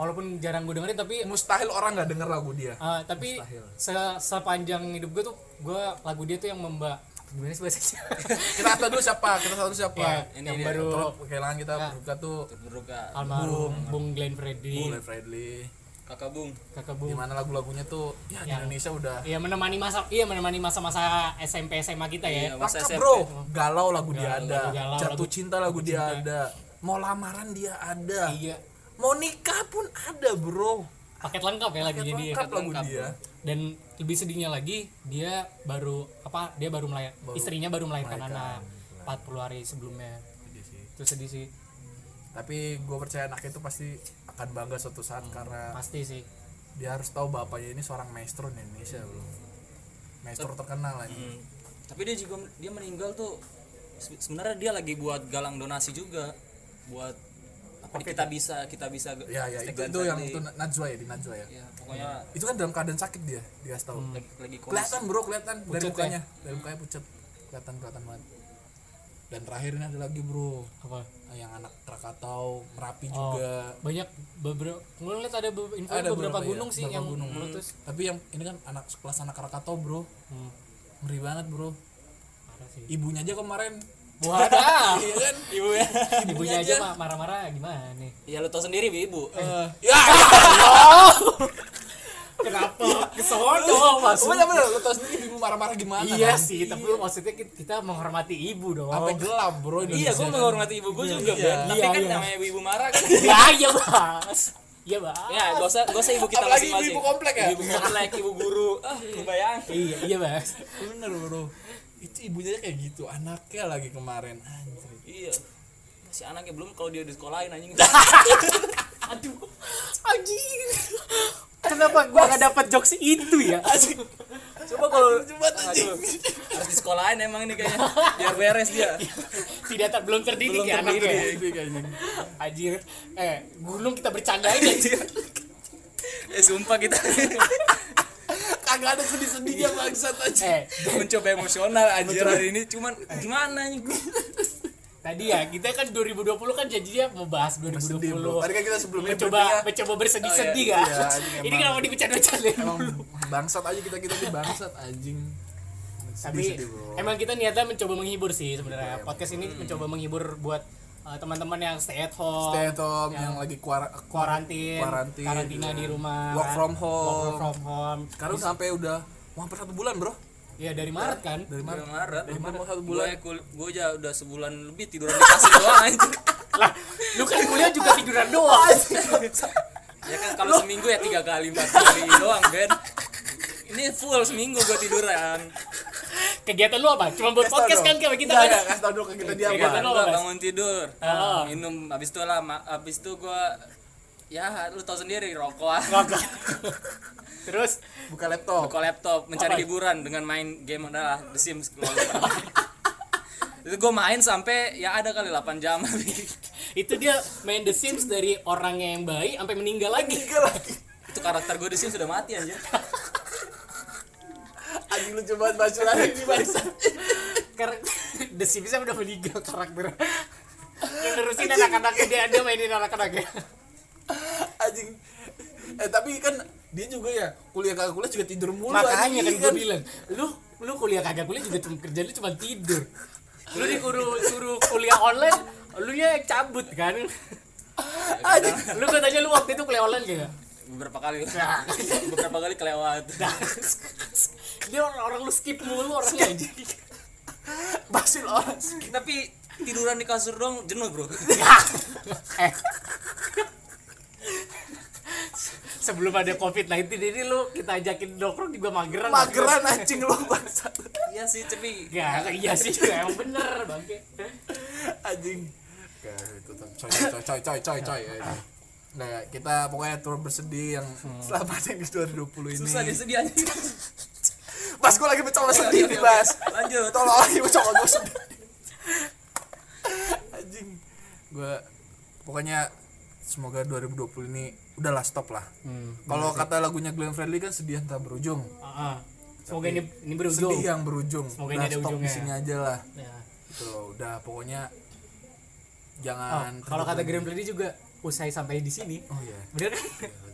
Speaker 1: walaupun jarang gue dengerin tapi
Speaker 2: Mustahil orang nggak denger lagu dia.
Speaker 1: Ah, tapi
Speaker 2: Mustahil.
Speaker 1: se- sepanjang hidup gue tuh gue lagu dia tuh yang memba gimana sih bahasanya [LAUGHS]
Speaker 2: Kita satu dulu siapa? Kita satu dulu siapa?
Speaker 1: Ya,
Speaker 3: ini
Speaker 1: yang
Speaker 3: dia,
Speaker 1: baru
Speaker 2: Terus kehilangan kita
Speaker 1: Iya.
Speaker 2: berbuka tuh
Speaker 3: berduka
Speaker 1: almarhum Bung Glenn Freddy
Speaker 2: Glenn Fredly.
Speaker 3: kakak bung
Speaker 1: kakak Bung
Speaker 2: Gimana lagu-lagunya tuh ya, di
Speaker 1: Yang-
Speaker 2: Indonesia udah
Speaker 1: iya menemani masa iya menemani masa-masa SMP SMA kita ya
Speaker 3: Iya, masa
Speaker 2: Lengkap
Speaker 3: SMP.
Speaker 2: bro, galau lagu dia
Speaker 1: Galau,
Speaker 2: ada,
Speaker 1: lagu galau,
Speaker 2: jatuh
Speaker 1: lagu-
Speaker 2: cinta lagu dia ada, mau lamaran dia ada,
Speaker 1: iya
Speaker 2: mau nikah pun ada bro.
Speaker 1: paket lengkap ya lagunya dia
Speaker 2: Lengkap lagu dia.
Speaker 1: dan lebih sedihnya lagi dia baru apa dia baru melahir istrinya baru melahirkan anak 40 hari sebelumnya itu sedih sih
Speaker 2: Tapi gue percaya anak itu pasti akan bangga suatu saat karena
Speaker 1: pasti sih
Speaker 2: dia harus tahu bapaknya ini seorang maestro di Indonesia bro. Maestro terkenal lah ini.
Speaker 3: Hmm. tapi dia juga dia meninggal tuh se- sebenarnya dia lagi buat galang donasi juga buat apa di kita bisa kita bisa
Speaker 2: Ya ya itu,
Speaker 3: Stegan
Speaker 2: itu yang
Speaker 3: Friendly.
Speaker 2: itu Najwa ya di Najwa
Speaker 1: Hmm.
Speaker 2: ya.
Speaker 3: ya pokoknya
Speaker 2: Itu kan dalam keadaan sakit dia, dia tahu.
Speaker 3: lagi, lagi kondisi
Speaker 2: Kelihatan bro, kelihatan dari
Speaker 1: Pucet ya?
Speaker 2: mukanya, dari mukanya pucet, kelihatan kelihatan banget. Dan terakhir ini ada lagi bro,
Speaker 1: apa
Speaker 2: yang anak Krakatau, Merapi
Speaker 1: Oh,
Speaker 2: juga.
Speaker 1: banyak beberapa gue lihat ada be- info
Speaker 2: Ada
Speaker 1: beberapa
Speaker 2: beberapa,
Speaker 1: gunung
Speaker 2: iya,
Speaker 1: sih
Speaker 2: beberapa
Speaker 1: yang
Speaker 2: gunung.
Speaker 1: meletus
Speaker 2: Tapi yang ini kan anak sekelas anak Krakatau bro,
Speaker 1: hmm.
Speaker 2: ngeri banget bro.
Speaker 1: parah
Speaker 2: [LAUGHS]
Speaker 1: sih
Speaker 2: Ibunya aja kemarin.
Speaker 1: Wadah.
Speaker 2: Iya kan?
Speaker 3: ibu ya
Speaker 1: ibunya aja Mak, marah-marah gimana nih
Speaker 3: ya lu tau sendiri bi ibu Eh,
Speaker 2: Ya.
Speaker 1: kenapa kesono
Speaker 2: Bener bener lu tau sendiri ibu marah-marah gimana?
Speaker 1: iya
Speaker 2: kan?
Speaker 1: sih tapi lu maksudnya kita, kita menghormati ibu dong
Speaker 2: Sampai gelap bro
Speaker 3: iya
Speaker 2: Indonesia
Speaker 3: gue
Speaker 2: kan.
Speaker 3: menghormati ibu gue juga
Speaker 2: iya.
Speaker 3: Ben. tapi
Speaker 1: Iya,
Speaker 3: kan
Speaker 1: iya.
Speaker 3: namanya ibu ibu marah
Speaker 2: [LAUGHS]
Speaker 3: kan
Speaker 1: [LAUGHS] ya iya mas iya bang
Speaker 3: ya gak usah gak usah ibu kita
Speaker 2: Apalagi
Speaker 3: masing-masing
Speaker 2: ibu-ibu komplek ya?
Speaker 3: ibu komplek ibu guru
Speaker 2: [LAUGHS]
Speaker 3: ah kebayang
Speaker 1: iya iya mas
Speaker 2: Bener bro. Itu ibunya aja kayak gitu, anaknya lagi kemarin. Anjir.
Speaker 3: iya si anaknya belum kalau dia di sekolahin anjing [LAUGHS]
Speaker 1: aduh anjing kenapa gua gak dapet jokes itu ya
Speaker 3: coba kalau
Speaker 2: Coba tuh anjing.
Speaker 3: harus di sekolahin emang ini kayaknya biar
Speaker 2: [LAUGHS]
Speaker 3: beres dia
Speaker 2: Iya.
Speaker 1: tidak ter- belum terdidik
Speaker 3: Belum
Speaker 1: ya anaknya
Speaker 3: terdidik.
Speaker 2: Itu kayaknya.
Speaker 1: anjir eh gunung kita bercandain anjir
Speaker 3: eh sumpah kita
Speaker 2: [LAUGHS] Kagak ada sedih-sedihnya bangsat
Speaker 1: eh
Speaker 2: aja.
Speaker 3: [LAUGHS] mencoba emosional anjir hari ini cuman gimana nih
Speaker 1: tadi ya kita kan 2020 kan janjinya mau bahas 2020
Speaker 2: Sedih bro. Tadi kan kita sebelumnya
Speaker 1: mencoba
Speaker 2: bertiga,
Speaker 1: mencoba bersedih-sedih
Speaker 2: iya,
Speaker 1: kan
Speaker 2: iya, anjing,
Speaker 1: ini
Speaker 2: emang.
Speaker 1: kenapa dibicarain
Speaker 2: emang bangsat aja kita kita ini bangsat anjing.
Speaker 1: tapi
Speaker 2: Sedih-sedih bro. Iya,
Speaker 1: emang kita niatnya mencoba menghibur sih sebenarnya podcast
Speaker 2: Hmm.
Speaker 1: ini mencoba menghibur buat uh, teman-teman yang stay at home
Speaker 2: Stay at home yang lagi kuar- kuar
Speaker 1: karantin
Speaker 2: Kuarantin,
Speaker 1: karantina
Speaker 2: iya.
Speaker 1: di rumah
Speaker 2: Work from home.
Speaker 1: work from home
Speaker 2: Sekarang sampai udah mau hampir satu bulan bro.
Speaker 1: ya dari Maret kan
Speaker 2: Dari Maret.
Speaker 3: Bulan Maret
Speaker 2: Dari Maret mau satu bulan.
Speaker 3: gue gue aja udah sebulan lebih tiduran di kasur doang anjir
Speaker 1: lah lu kan kuliah juga tiduran
Speaker 2: [LAUGHS]
Speaker 1: doang
Speaker 3: ya kan kalau seminggu ya tiga kali empat kali doang Ben ini full seminggu gue tiduran
Speaker 1: kegiatan lu apa? Cuma buat
Speaker 2: Kasih tau
Speaker 1: podcast
Speaker 2: dong.
Speaker 1: kan kayak kita
Speaker 2: Nggak,
Speaker 1: kan.
Speaker 2: nggak, kasih tau dulu ke kita dia
Speaker 1: Kegiatan
Speaker 2: apa
Speaker 1: lo
Speaker 3: Gua
Speaker 1: Iya, Mas?
Speaker 3: bangun tidur
Speaker 1: Ah.
Speaker 3: minum abis itu lah ma- abis itu gua ya lu tau sendiri rokok
Speaker 1: Nggak. Terus
Speaker 2: buka laptop
Speaker 3: buka laptop mencari
Speaker 1: Apa?
Speaker 3: hiburan dengan main game adalah The Sims itu gue main sampai ya ada kali 8 jam [LAUGHS] itu
Speaker 1: itu dia main The Sims dari orang yang baik sampai meninggal lagi.
Speaker 2: Tiga lagi
Speaker 3: karakter gue The Sims sudah mati aja
Speaker 2: anjing lu coba basuran lagi bangsa
Speaker 1: [LAUGHS] Karena The Sims udah meninggal
Speaker 2: [LAUGHS]
Speaker 1: karakter. Yang nerusin anak-anaknya dia dia mainin anak-anaknya.
Speaker 2: [LAUGHS] anjing eh tapi kan dia juga ya kuliah kagak kuliah juga tidur mulu
Speaker 1: Makanya kan
Speaker 2: anjing, iya
Speaker 1: gue bilang, lu lu kuliah kagak kuliah juga cuma kerja lu cuma tidur. Lu disuruh suruh kuliah online, lu nya cabut kan.
Speaker 2: anjing
Speaker 1: Lu gue tanya lu waktu itu kuliah online kagak?
Speaker 3: beberapa kali
Speaker 1: Nah.
Speaker 3: [LAUGHS] beberapa kali kelewat
Speaker 1: dia orang, orang lu skip mulu orangnya aja.
Speaker 2: basil orang
Speaker 3: [LAUGHS] tapi tiduran di kasur dong jenuh bro
Speaker 1: eh. Sebelum ada COVID-19 ini lu kita ajakin nongkrong juga mageran.
Speaker 2: mageran anjing lu bangsa
Speaker 3: iya sih tapi
Speaker 1: Ya, iya sih emang bener bangke.
Speaker 2: anjing Ya, itu tuh. coy coy coy coy coy coy ya, ini. nah kita pokoknya turut bersedih yang
Speaker 1: Hmm.
Speaker 2: selama ini di 2020 ini
Speaker 3: susah dia sedih aja
Speaker 2: Mas gue lagi mencoba sedih nih Mas
Speaker 3: lanjut
Speaker 2: Tolong lagi mencoba gue sedih [LAUGHS] Anjing Gue Pokoknya Semoga 2020 ini Udahlah stop lah
Speaker 1: Hmm,
Speaker 2: Kalau kata lagunya Glenn Fredly kan sedih yang tak berujung
Speaker 1: Ah, ah. Semoga ini ini berujung.
Speaker 2: Sedih yang berujung
Speaker 1: Semoga
Speaker 2: Udah
Speaker 1: ini ada
Speaker 2: stop di
Speaker 1: ujungnya.
Speaker 2: sini aja lah
Speaker 1: Ya.
Speaker 2: Gitu loh Udah pokoknya
Speaker 1: Oh,
Speaker 2: Jangan
Speaker 1: kalau kata
Speaker 2: terlalu-
Speaker 1: Graham Brady juga usai sampai di sini.
Speaker 2: Oh iya
Speaker 1: Bener kan? [LAUGHS]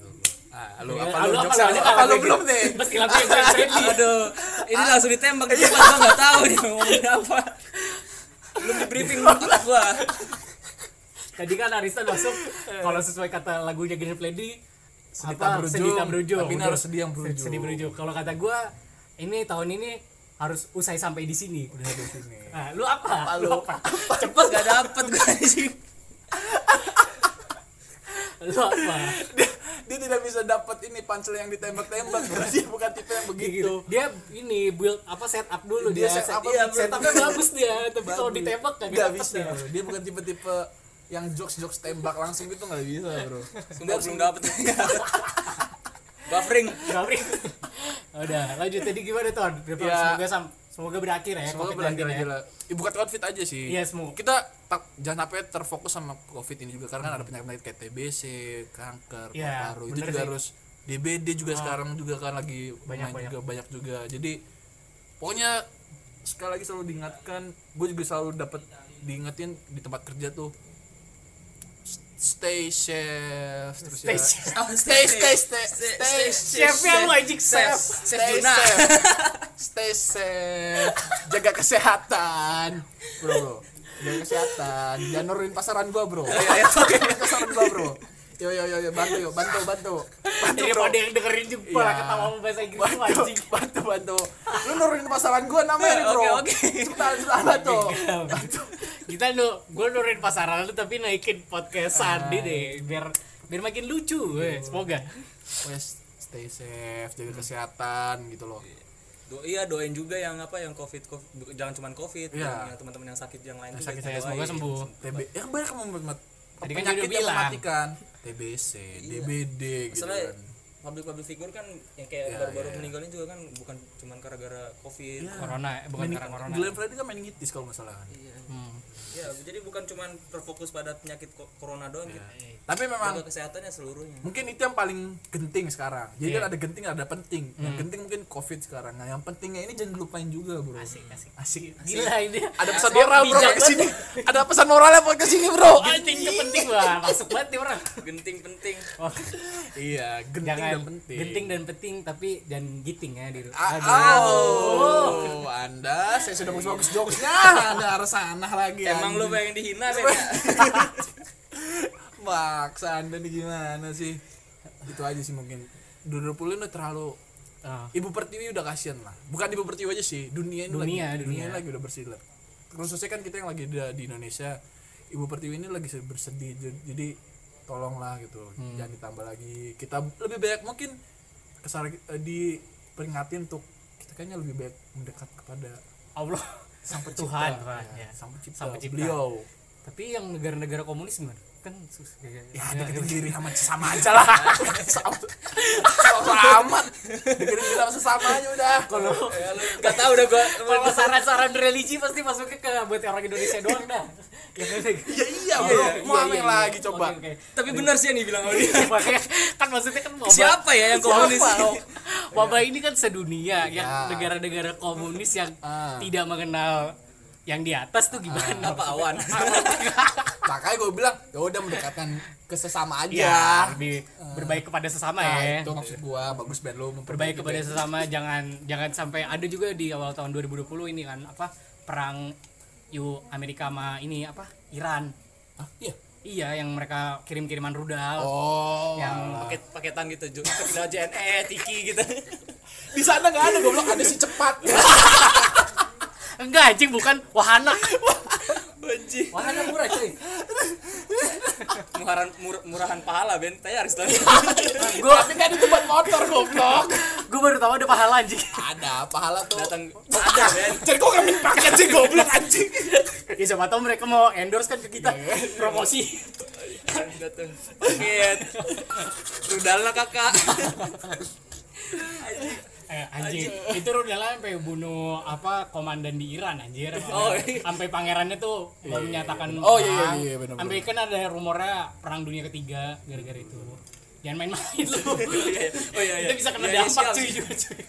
Speaker 2: Ah, lu
Speaker 1: Ya,
Speaker 2: apa
Speaker 1: ah,
Speaker 2: lu
Speaker 1: lu
Speaker 2: jokes
Speaker 1: apa,
Speaker 2: apa,
Speaker 1: lu
Speaker 2: apa
Speaker 1: apa,
Speaker 2: lu
Speaker 1: Graham?
Speaker 2: belum nih?
Speaker 1: Pasti lampir Graham Brady.
Speaker 3: aduh ini
Speaker 2: Ah.
Speaker 3: langsung ditembak di depan gue nggak tahu dia mau ngomongin apa belum di briefing otak gue
Speaker 1: Tadi kan Arista masuk kalau sesuai kata lagunya Graham Brady
Speaker 2: Sedih
Speaker 1: apa,
Speaker 2: tak berujung,
Speaker 1: sedih tak berujung.
Speaker 2: tapi ini
Speaker 1: Udah,
Speaker 2: harus sedih yang berujung.
Speaker 1: Sedih berujung. Kalau kata gua ini tahun ini harus usai sampai di sini.
Speaker 2: Udah di sini.
Speaker 1: Nah, lu apa? lu? apa?
Speaker 3: cepet gak dapet gue di sini
Speaker 1: Lu [LAUGHS] apa?
Speaker 2: dia, dia tidak bisa dapat ini pansel yang ditembak-tembak [LAUGHS] bro. dia bukan tipe yang begitu
Speaker 1: Dia ini build apa setup dulu
Speaker 2: Dia
Speaker 1: Gitu. dia,
Speaker 2: set up-nya
Speaker 1: iya,
Speaker 2: bagus.
Speaker 1: setupnya bagus dia, tapi kalau
Speaker 2: Bagus.
Speaker 1: ditembak kan
Speaker 2: nggak bisa bro. dia bukan tipe-tipe yang jokes-jokes tembak langsung gitu nggak bisa bro
Speaker 3: Sumpah belum
Speaker 2: [LAUGHS]
Speaker 3: dapet Buffering
Speaker 1: Gabri. [LAUGHS] Udah, lanjut tadi gimana Ton? Berapa-
Speaker 2: Ya.
Speaker 1: Semoga sam- semoga berakhir ya.
Speaker 2: semoga
Speaker 1: COVID-19
Speaker 2: berakhir
Speaker 1: ya.
Speaker 2: aja lah ya, bukan outfit aja sih
Speaker 1: Iya, semoga.
Speaker 2: kita tak, jangan sampai terfokus sama covid ini juga karena kan ada penyakit kayak TBC kanker
Speaker 1: Iya,
Speaker 2: paru itu
Speaker 1: bener
Speaker 2: juga
Speaker 1: sih. Ah.
Speaker 2: harus DBD juga sekarang juga kan lagi banyak,
Speaker 1: Banyak-banyak.
Speaker 2: juga banyak juga jadi pokoknya sekali lagi selalu diingatkan gue juga selalu dapat diingetin di tempat kerja tuh stay safe terus
Speaker 1: Stay
Speaker 2: ya.
Speaker 1: safe.
Speaker 2: stay stay stay stay,
Speaker 3: stay
Speaker 2: safe.
Speaker 1: Chef yang magic
Speaker 3: Chef.
Speaker 1: chef.
Speaker 3: Chef
Speaker 2: Stay
Speaker 3: Juna
Speaker 2: safe. [LAUGHS] Stay safe. Jaga kesehatan. Bro, bro. Jaga kesehatan. Jangan nurunin pasaran gua, Bro. Nurunin pasaran gua, Bro. Yo yo yo yo bantu yo, bantu bantu. Bantu
Speaker 1: [LAUGHS]
Speaker 2: bro.
Speaker 1: Daripada yang dengerin juga malah
Speaker 2: Iya.
Speaker 1: ketawa sama bahasa Inggris lu
Speaker 2: Bantu,
Speaker 1: anjing. [LAUGHS]
Speaker 2: bantu, bantu. Lu nurunin pasaran gua namanya nih, Bro.
Speaker 3: [LAUGHS] Oke,
Speaker 2: Oke,
Speaker 3: oke.
Speaker 2: Cepetan, cepetan bantu.
Speaker 1: Kita lu gue nurin pasaran lu tapi naikin podcastan
Speaker 2: Ah.
Speaker 1: di deh biar biar makin lucu weh.
Speaker 2: Iya.
Speaker 1: Semoga.
Speaker 2: Wes, stay safe, jaga kesehatan gitu loh.
Speaker 3: Do- iya doain juga yang apa yang covid, COVID- du- jangan cuman covid
Speaker 2: Iya.
Speaker 3: yang- yang teman-teman yang sakit yang lain juga gitu.
Speaker 1: sakit
Speaker 3: kita
Speaker 1: saya, semoga
Speaker 3: doain.
Speaker 1: sembuh.
Speaker 2: TB, ya banyak yang membuat
Speaker 1: Tadi kan dia udah bilang.
Speaker 2: mematikan. TBC, DBD gitu
Speaker 3: Masalahnya
Speaker 2: kan.
Speaker 3: public public figure kan yang kayak
Speaker 2: Iya,
Speaker 3: baru-baru
Speaker 2: iya.
Speaker 3: meninggalnya juga kan bukan cuman gara-gara covid
Speaker 2: Iya.
Speaker 1: Corona eh, bukan
Speaker 2: Main-
Speaker 1: karena corona.
Speaker 2: Glenn Fredly kan main ngitis kalau nggak salah kan.
Speaker 3: Iya.
Speaker 1: Hmm.
Speaker 3: Iya, jadi bukan cuman terfokus pada penyakit ko- corona doang gitu.
Speaker 2: Tapi memang
Speaker 3: Jaga kesehatannya seluruhnya.
Speaker 2: mungkin itu yang paling genting sekarang. Jadi
Speaker 1: Iya. Hmm.
Speaker 2: kan ada genting ada penting. Yang genting mungkin covid sekarang. Nah yang pentingnya ini jangan dilupain juga bro.
Speaker 1: Asik, asik.
Speaker 2: Asik.
Speaker 1: Gila ini.
Speaker 2: Ada pesan
Speaker 1: Dia
Speaker 2: moral bro
Speaker 1: bijak
Speaker 2: ke sini. [LAUGHS] Ada pesan moralnya buat ke sini bro.
Speaker 1: Penting
Speaker 2: Anjing.
Speaker 1: penting wah masuk banget nih
Speaker 2: [LAUGHS]
Speaker 1: orang.
Speaker 3: Genting penting.
Speaker 1: Oh,
Speaker 2: Iya genting
Speaker 1: jangan
Speaker 2: dan penting.
Speaker 1: genting dan penting tapi jangan giting ya di
Speaker 2: Ah, oh, Anda saya sudah
Speaker 1: Iya.
Speaker 2: bagus-bagus jokesnya. Anda harus sanah lagi.
Speaker 3: Emang lu
Speaker 2: anjing.
Speaker 3: pengen dihina, Ben?
Speaker 2: [LAUGHS] Maksa Anda nih gimana sih? Itu aja sih mungkin. 2020 udah terlalu
Speaker 1: Ah.
Speaker 2: Ibu Pertiwi udah kasihan lah. Bukan Ibu Pertiwi aja sih, dunia ini
Speaker 1: Dunia,
Speaker 2: lagi,
Speaker 1: dunia.
Speaker 2: ini lagi udah bersilat. Khususnya kan kita yang lagi ada di Indonesia, Ibu Pertiwi ini lagi se- bersedih. J- Jadi tolonglah gitu,
Speaker 1: Hmm.
Speaker 2: jangan ditambah lagi. Kita lebih banyak mungkin kesar eh, diperingatin untuk kita kayaknya lebih baik mendekat kepada
Speaker 1: Allah
Speaker 2: Sang pencipta. Iya.
Speaker 1: Tuhan, Tuhan, ya.
Speaker 2: Sang pencipta.
Speaker 1: Sang pencipta.
Speaker 2: Beliau.
Speaker 1: tapi yang negara-negara komunis gimana kan susah ya,
Speaker 2: Ya, deketin diri sama sesama aja
Speaker 1: [LAUGHS]
Speaker 2: lah. sama, sama amat. Deketin diri sama sesama aja udah. Kalau
Speaker 3: Gak tau udah
Speaker 2: Ya.
Speaker 3: gua
Speaker 1: kalau saran-saran religi pasti masuknya ke buat orang Indonesia doang
Speaker 2: [LAUGHS]
Speaker 1: dah ya kan
Speaker 2: ya iya bro,
Speaker 1: iya,
Speaker 2: mau apa
Speaker 1: iya,
Speaker 2: yang
Speaker 1: iya.
Speaker 2: lagi coba?
Speaker 1: Oke,
Speaker 3: Tapi benar sih yang dibilang Audi.
Speaker 1: oke. Makanya kan maksudnya kan wabah, Oh,
Speaker 3: Siapa ya yang
Speaker 1: [LAUGHS]
Speaker 3: komunis?
Speaker 1: wabah ini kan sedunia yang
Speaker 2: Ya.
Speaker 1: negara-negara komunis yang
Speaker 2: Ah.
Speaker 1: tidak mengenal yang di atas tuh gimana
Speaker 3: Apa awan?
Speaker 2: Makanya gue bilang, ya udah mendekatkan ke sesama aja.
Speaker 1: ya lebih berbaik kepada sesama
Speaker 2: Iya. Nah,
Speaker 1: ya
Speaker 2: itu maksud gua bagus band lo
Speaker 1: berbaik kepada sesama jangan jangan sampai ada juga di awal tahun 2020 ini kan apa perang Yu Amerika sama ini apa Iran
Speaker 2: Hah? Iya.
Speaker 1: iya yang mereka kirim-kiriman rudal
Speaker 2: Oh.
Speaker 1: yang
Speaker 3: Paket paketan gitu, Jo. Kita aja eh tiki gitu.
Speaker 2: Di sana nggak ada goblok, ada si
Speaker 1: [LAUGHS]
Speaker 2: cepat.
Speaker 1: enggak anjing bukan
Speaker 2: [LAUGHS]
Speaker 1: wahana
Speaker 3: Benci.
Speaker 1: wahana murah cuy
Speaker 2: Eh,
Speaker 3: Murahan mur- murahan pahala Ben. Tanya harus tanya.
Speaker 2: gua tapi kan itu buat motor goblok.
Speaker 1: gue baru tahu ada pahala anjing [LAUGHS]
Speaker 2: ada pahala tuh.
Speaker 3: Datang
Speaker 2: [LAUGHS]
Speaker 3: ada Ben.
Speaker 2: Jadi kok kami paket sih
Speaker 1: [LAUGHS]
Speaker 2: goblok anjing.
Speaker 1: ya siapa tahu mereka mau endorse kan ke kita
Speaker 2: Iya.
Speaker 1: promosi
Speaker 3: Datang. Paket. Rudalnya kakak.
Speaker 1: eh, anjing itu rudalnya sampai bunuh apa komandan di Iran anjir
Speaker 3: Oh, iya.
Speaker 1: sampai pangerannya tuh mau menyatakan
Speaker 2: Oh, iya, iya,
Speaker 1: perang.
Speaker 2: iya, benar, benar.
Speaker 1: sampai kan ada rumornya perang dunia ketiga gara-gara itu jangan main-main lu
Speaker 3: [LAUGHS] Oh iya iya.
Speaker 1: kita bisa kena
Speaker 3: Iya, iya,
Speaker 1: dampak
Speaker 3: siap,
Speaker 1: cuy,
Speaker 3: siap.
Speaker 1: juga, cuy.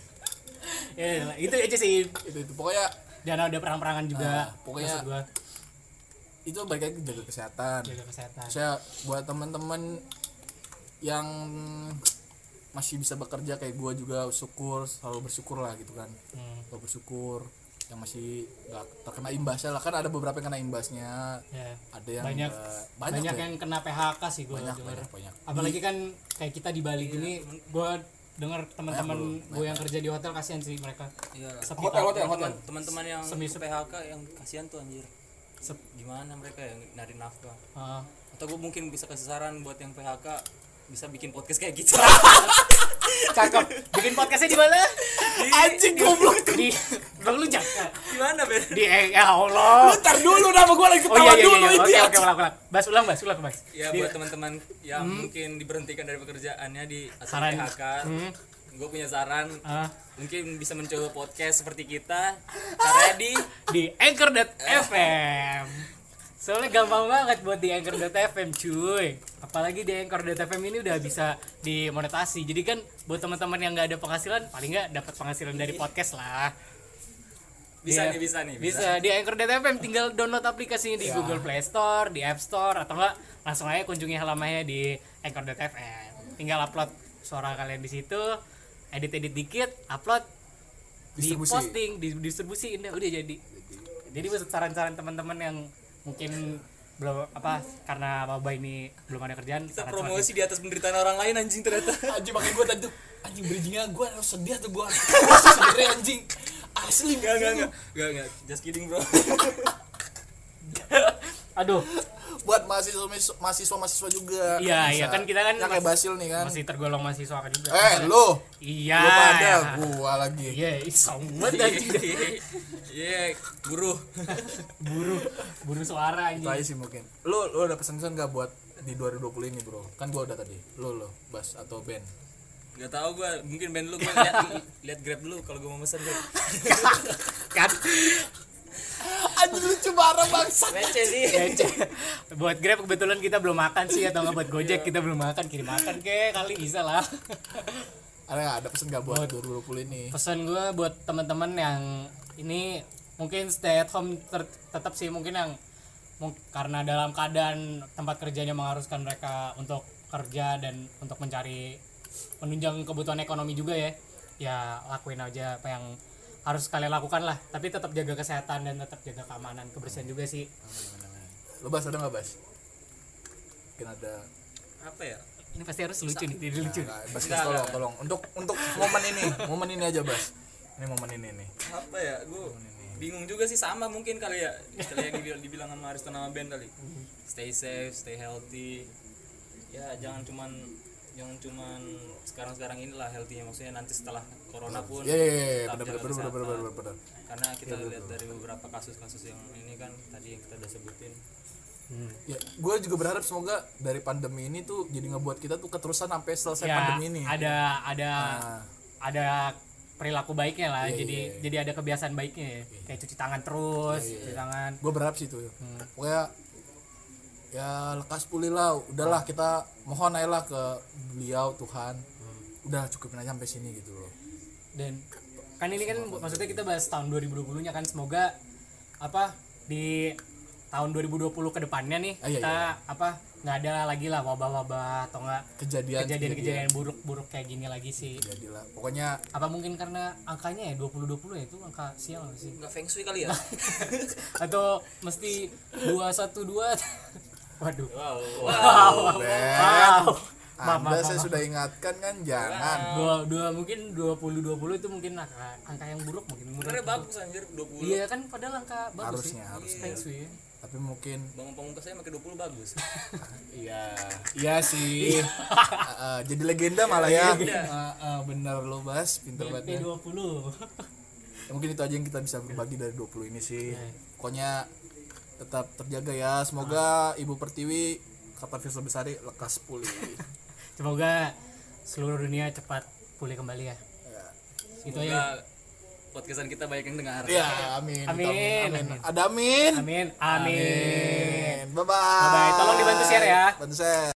Speaker 1: ya, itu aja sih
Speaker 2: Itu itu pokoknya
Speaker 1: jangan ada perang-perangan juga
Speaker 2: Ah, pokoknya-
Speaker 1: maksud gua
Speaker 2: itu balik lagi ke jaga kesehatan.
Speaker 1: jaga kesehatan
Speaker 2: Saya buat teman-teman yang masih bisa bekerja kayak gua juga syukur selalu bersyukur lah gitu kan
Speaker 1: Hmm,
Speaker 2: selalu bersyukur yang masih nggak terkena imbasnya lah kan ada beberapa yang kena imbasnya
Speaker 1: ya.
Speaker 2: ada yang
Speaker 1: Banyak-
Speaker 2: nggak-
Speaker 1: banyak,
Speaker 2: ya?
Speaker 1: yang kena PHK sih gue
Speaker 2: banyak banyak banyak
Speaker 1: apalagi kan kayak kita di Bali
Speaker 3: Iya.
Speaker 1: gini gue denger teman-teman gue yang kerja di hotel kasihan sih mereka
Speaker 3: Iya.
Speaker 1: sepi
Speaker 2: hotel hotel hotel
Speaker 3: Teman- Teman-teman yang
Speaker 1: Semi-
Speaker 3: PHK yang kasihan tuh anjir.
Speaker 1: Sep-
Speaker 3: Gimana mereka yang nyari nafkah?
Speaker 1: Ah.
Speaker 3: Atau gue mungkin bisa kasih saran buat yang PHK bisa bikin podcast kayak gitu.
Speaker 1: cakep bikin podcastnya di mana
Speaker 2: anjing goblok
Speaker 1: di bang lu jangan
Speaker 3: [LAUGHS] Gimana Ben?
Speaker 1: di eh, ya Allah
Speaker 2: ntar dulu nama gua lagi
Speaker 1: oh
Speaker 2: ketawa
Speaker 1: iya iya
Speaker 2: dulu
Speaker 1: iya, iya.
Speaker 2: itu
Speaker 1: oke oke ulang ulang bas ulang bas ulang bas
Speaker 3: Ya buat teman-teman yang
Speaker 2: Hmm.
Speaker 3: mungkin diberhentikan dari pekerjaannya di atau
Speaker 1: Saran.
Speaker 3: PHK,
Speaker 1: Hmm.
Speaker 3: gue punya saran
Speaker 1: Ah,
Speaker 3: mungkin bisa mencoba podcast seperti kita karena di
Speaker 1: di anchor.fm soalnya gampang banget buat di anchor.fm cuy apalagi di anchor.fm ini udah bisa dimonetasi jadi kan buat teman-teman yang nggak ada penghasilan paling nggak dapat penghasilan dari podcast lah
Speaker 3: bisa
Speaker 1: Iya.
Speaker 3: nih bisa
Speaker 2: Ya
Speaker 3: nih
Speaker 1: bisa di anchor.fm tinggal download aplikasinya di Google Play Store di App Store atau enggak langsung aja kunjungi halamannya di anchor.fm tinggal upload suara kalian di situ edit edit dikit upload di
Speaker 2: Distribusi.
Speaker 1: posting di distribusi udah udah jadi jadi maksud saran-saran teman-teman yang mungkin belum apa karena wabah ini belum ada kerjaan
Speaker 3: kita
Speaker 1: saran-saran
Speaker 3: promosi di atas penderitaan orang lain anjing ternyata [LAUGHS]
Speaker 2: anjing pakai gua tadi tuh anjing bridgingnya gua harus sedih tuh gua Gua sebenernya anjing asli
Speaker 3: enggak enggak enggak enggak enggak just kidding bro [LAUGHS]
Speaker 1: aduh
Speaker 2: buat mahasiswa mahasiswa mahasiswa juga
Speaker 1: Iya,
Speaker 2: bisa.
Speaker 1: iya, kan kita kan
Speaker 2: yang kayak
Speaker 1: mas-
Speaker 2: Basil nih kan
Speaker 1: masih tergolong mahasiswa kan juga
Speaker 2: eh lo
Speaker 1: iya
Speaker 2: lo pada gua lagi
Speaker 1: iya ih, sombong banget anjing.
Speaker 3: iya buruh
Speaker 1: buru buru suara
Speaker 2: itu
Speaker 1: anjing
Speaker 2: aja sih mungkin lo lo ada pesan-pesan gak buat di 2020 ini bro kan gua udah tadi lo lo Bas atau Ben
Speaker 3: Gak tau gue, mungkin band lu gue liat, liat grab dulu kalau gue mau pesan grab
Speaker 1: kan
Speaker 2: anjing lucu banget bangsa
Speaker 3: Receh sih
Speaker 1: buat grab kebetulan kita belum makan sih atau nggak buat gojek kita belum makan kirim makan ke kali bisa lah
Speaker 2: ada nggak ada pesan gak buat 2020 ini
Speaker 1: pesan gue buat teman-teman yang ini mungkin stay at home ter- tetap sih mungkin yang mung- karena dalam keadaan tempat kerjanya mengharuskan mereka untuk kerja dan untuk mencari menunjang kebutuhan ekonomi juga ya ya lakuin aja apa yang harus kalian lakukan lah tapi tetap jaga kesehatan dan tetap jaga keamanan kebersihan juga sih
Speaker 2: lo Bas ada nggak Bas mungkin ada
Speaker 3: Apa ya?
Speaker 1: ini pasti harus lucu nih jadi lucu
Speaker 2: Nah, Bas, Bas tolong tolong untuk untuk momen ini momen ini aja Bas ini momen ini nih
Speaker 3: Apa ya? Gue bingung juga sih sama mungkin kali ya Kali yang dibilang, dibilang sama Aristo nama band kali Stay safe, stay healthy Ya jangan cuman yang cuman sekarang-sekarang inilah healthy maksudnya nanti setelah corona pun
Speaker 2: Iya, iya, iya,
Speaker 3: tetap
Speaker 2: benar benar
Speaker 3: jaga
Speaker 2: benar benar
Speaker 3: kesehatan.
Speaker 2: benar benar.
Speaker 3: karena kita lihat dari beberapa kasus-kasus yang ini kan tadi yang kita udah sebutin
Speaker 1: Hmm.
Speaker 2: Ya, gue juga berharap semoga dari pandemi ini tuh jadi ngebuat kita tuh keterusan sampai selesai
Speaker 1: ya
Speaker 2: pandemi ini.
Speaker 1: ada ada
Speaker 2: Nah,
Speaker 1: ada perilaku baiknya lah
Speaker 2: Iya,
Speaker 1: jadi
Speaker 2: iya, iya.
Speaker 1: jadi ada kebiasaan baiknya ya. kayak cuci tangan terus cuci tangan
Speaker 2: gue berharap sih itu. Pokoknya ya lekas pulih lah. Udahlah kita mohon aja lah ke beliau Tuhan. Udah cukup aja sampai sini gitu loh.
Speaker 1: dan kan ini kan maksudnya kita bahas tahun 2020 nya kan semoga apa di tahun 2020 ke depannya nih
Speaker 2: Ah, iya,
Speaker 1: kita apa nggak ada lagi lah wabah-wabah atau enggak
Speaker 2: Kejadian iya.
Speaker 1: kejadian-kejadian buruk-buruk kayak gini lagi sih
Speaker 2: Jadilah. Pokoknya
Speaker 1: apa mungkin karena angkanya ya 2020 ya itu angka sial nggak sih
Speaker 3: nggak feng shui kali [LAUGHS] ya
Speaker 1: atau mesti 212 waduh
Speaker 3: wow,
Speaker 2: Ben,
Speaker 1: Maaf,
Speaker 2: Anda
Speaker 1: maaf,
Speaker 2: saya
Speaker 1: maaf.
Speaker 2: sudah ingatkan kan jangan.
Speaker 1: dua, dua mungkin 20 20 itu mungkin angka, angka yang buruk mungkin
Speaker 3: sebenarnya
Speaker 1: menurut
Speaker 3: bagus anjir 20
Speaker 1: Iya kan padahal angka bagus
Speaker 2: Harusnya,
Speaker 1: sih.
Speaker 2: harusnya.
Speaker 1: Feng shui ya.
Speaker 2: Tapi mungkin
Speaker 3: bangun pamungkas saya pakai 20 bagus
Speaker 2: Iya, iya
Speaker 1: [LAUGHS]
Speaker 2: sih. Uh, uh, jadi legenda malah
Speaker 1: Iya.
Speaker 2: ya.
Speaker 3: Legenda.
Speaker 2: Uh, uh, bener lo Bas, pinter banget. ya.
Speaker 1: BP 20.
Speaker 2: Ya, mungkin itu aja yang kita bisa berbagi dari 20 ini sih.
Speaker 1: Iya.
Speaker 2: Pokoknya tetap terjaga ya. Semoga Ibu Pertiwi kata Firsa Besari lekas pulih.
Speaker 1: [LAUGHS] Semoga seluruh dunia cepat pulih kembali ya.
Speaker 2: ya.
Speaker 1: Itu
Speaker 3: Semoga
Speaker 1: aja.
Speaker 3: podcastan kita banyak yang dengar
Speaker 2: Ya, amin.
Speaker 1: Amin,
Speaker 2: amin.
Speaker 1: amin.
Speaker 2: Ada amin.
Speaker 1: Amin. Amin.
Speaker 2: Bye bye.
Speaker 1: Bye-bye. Tolong dibantu share ya.
Speaker 2: Bantu share.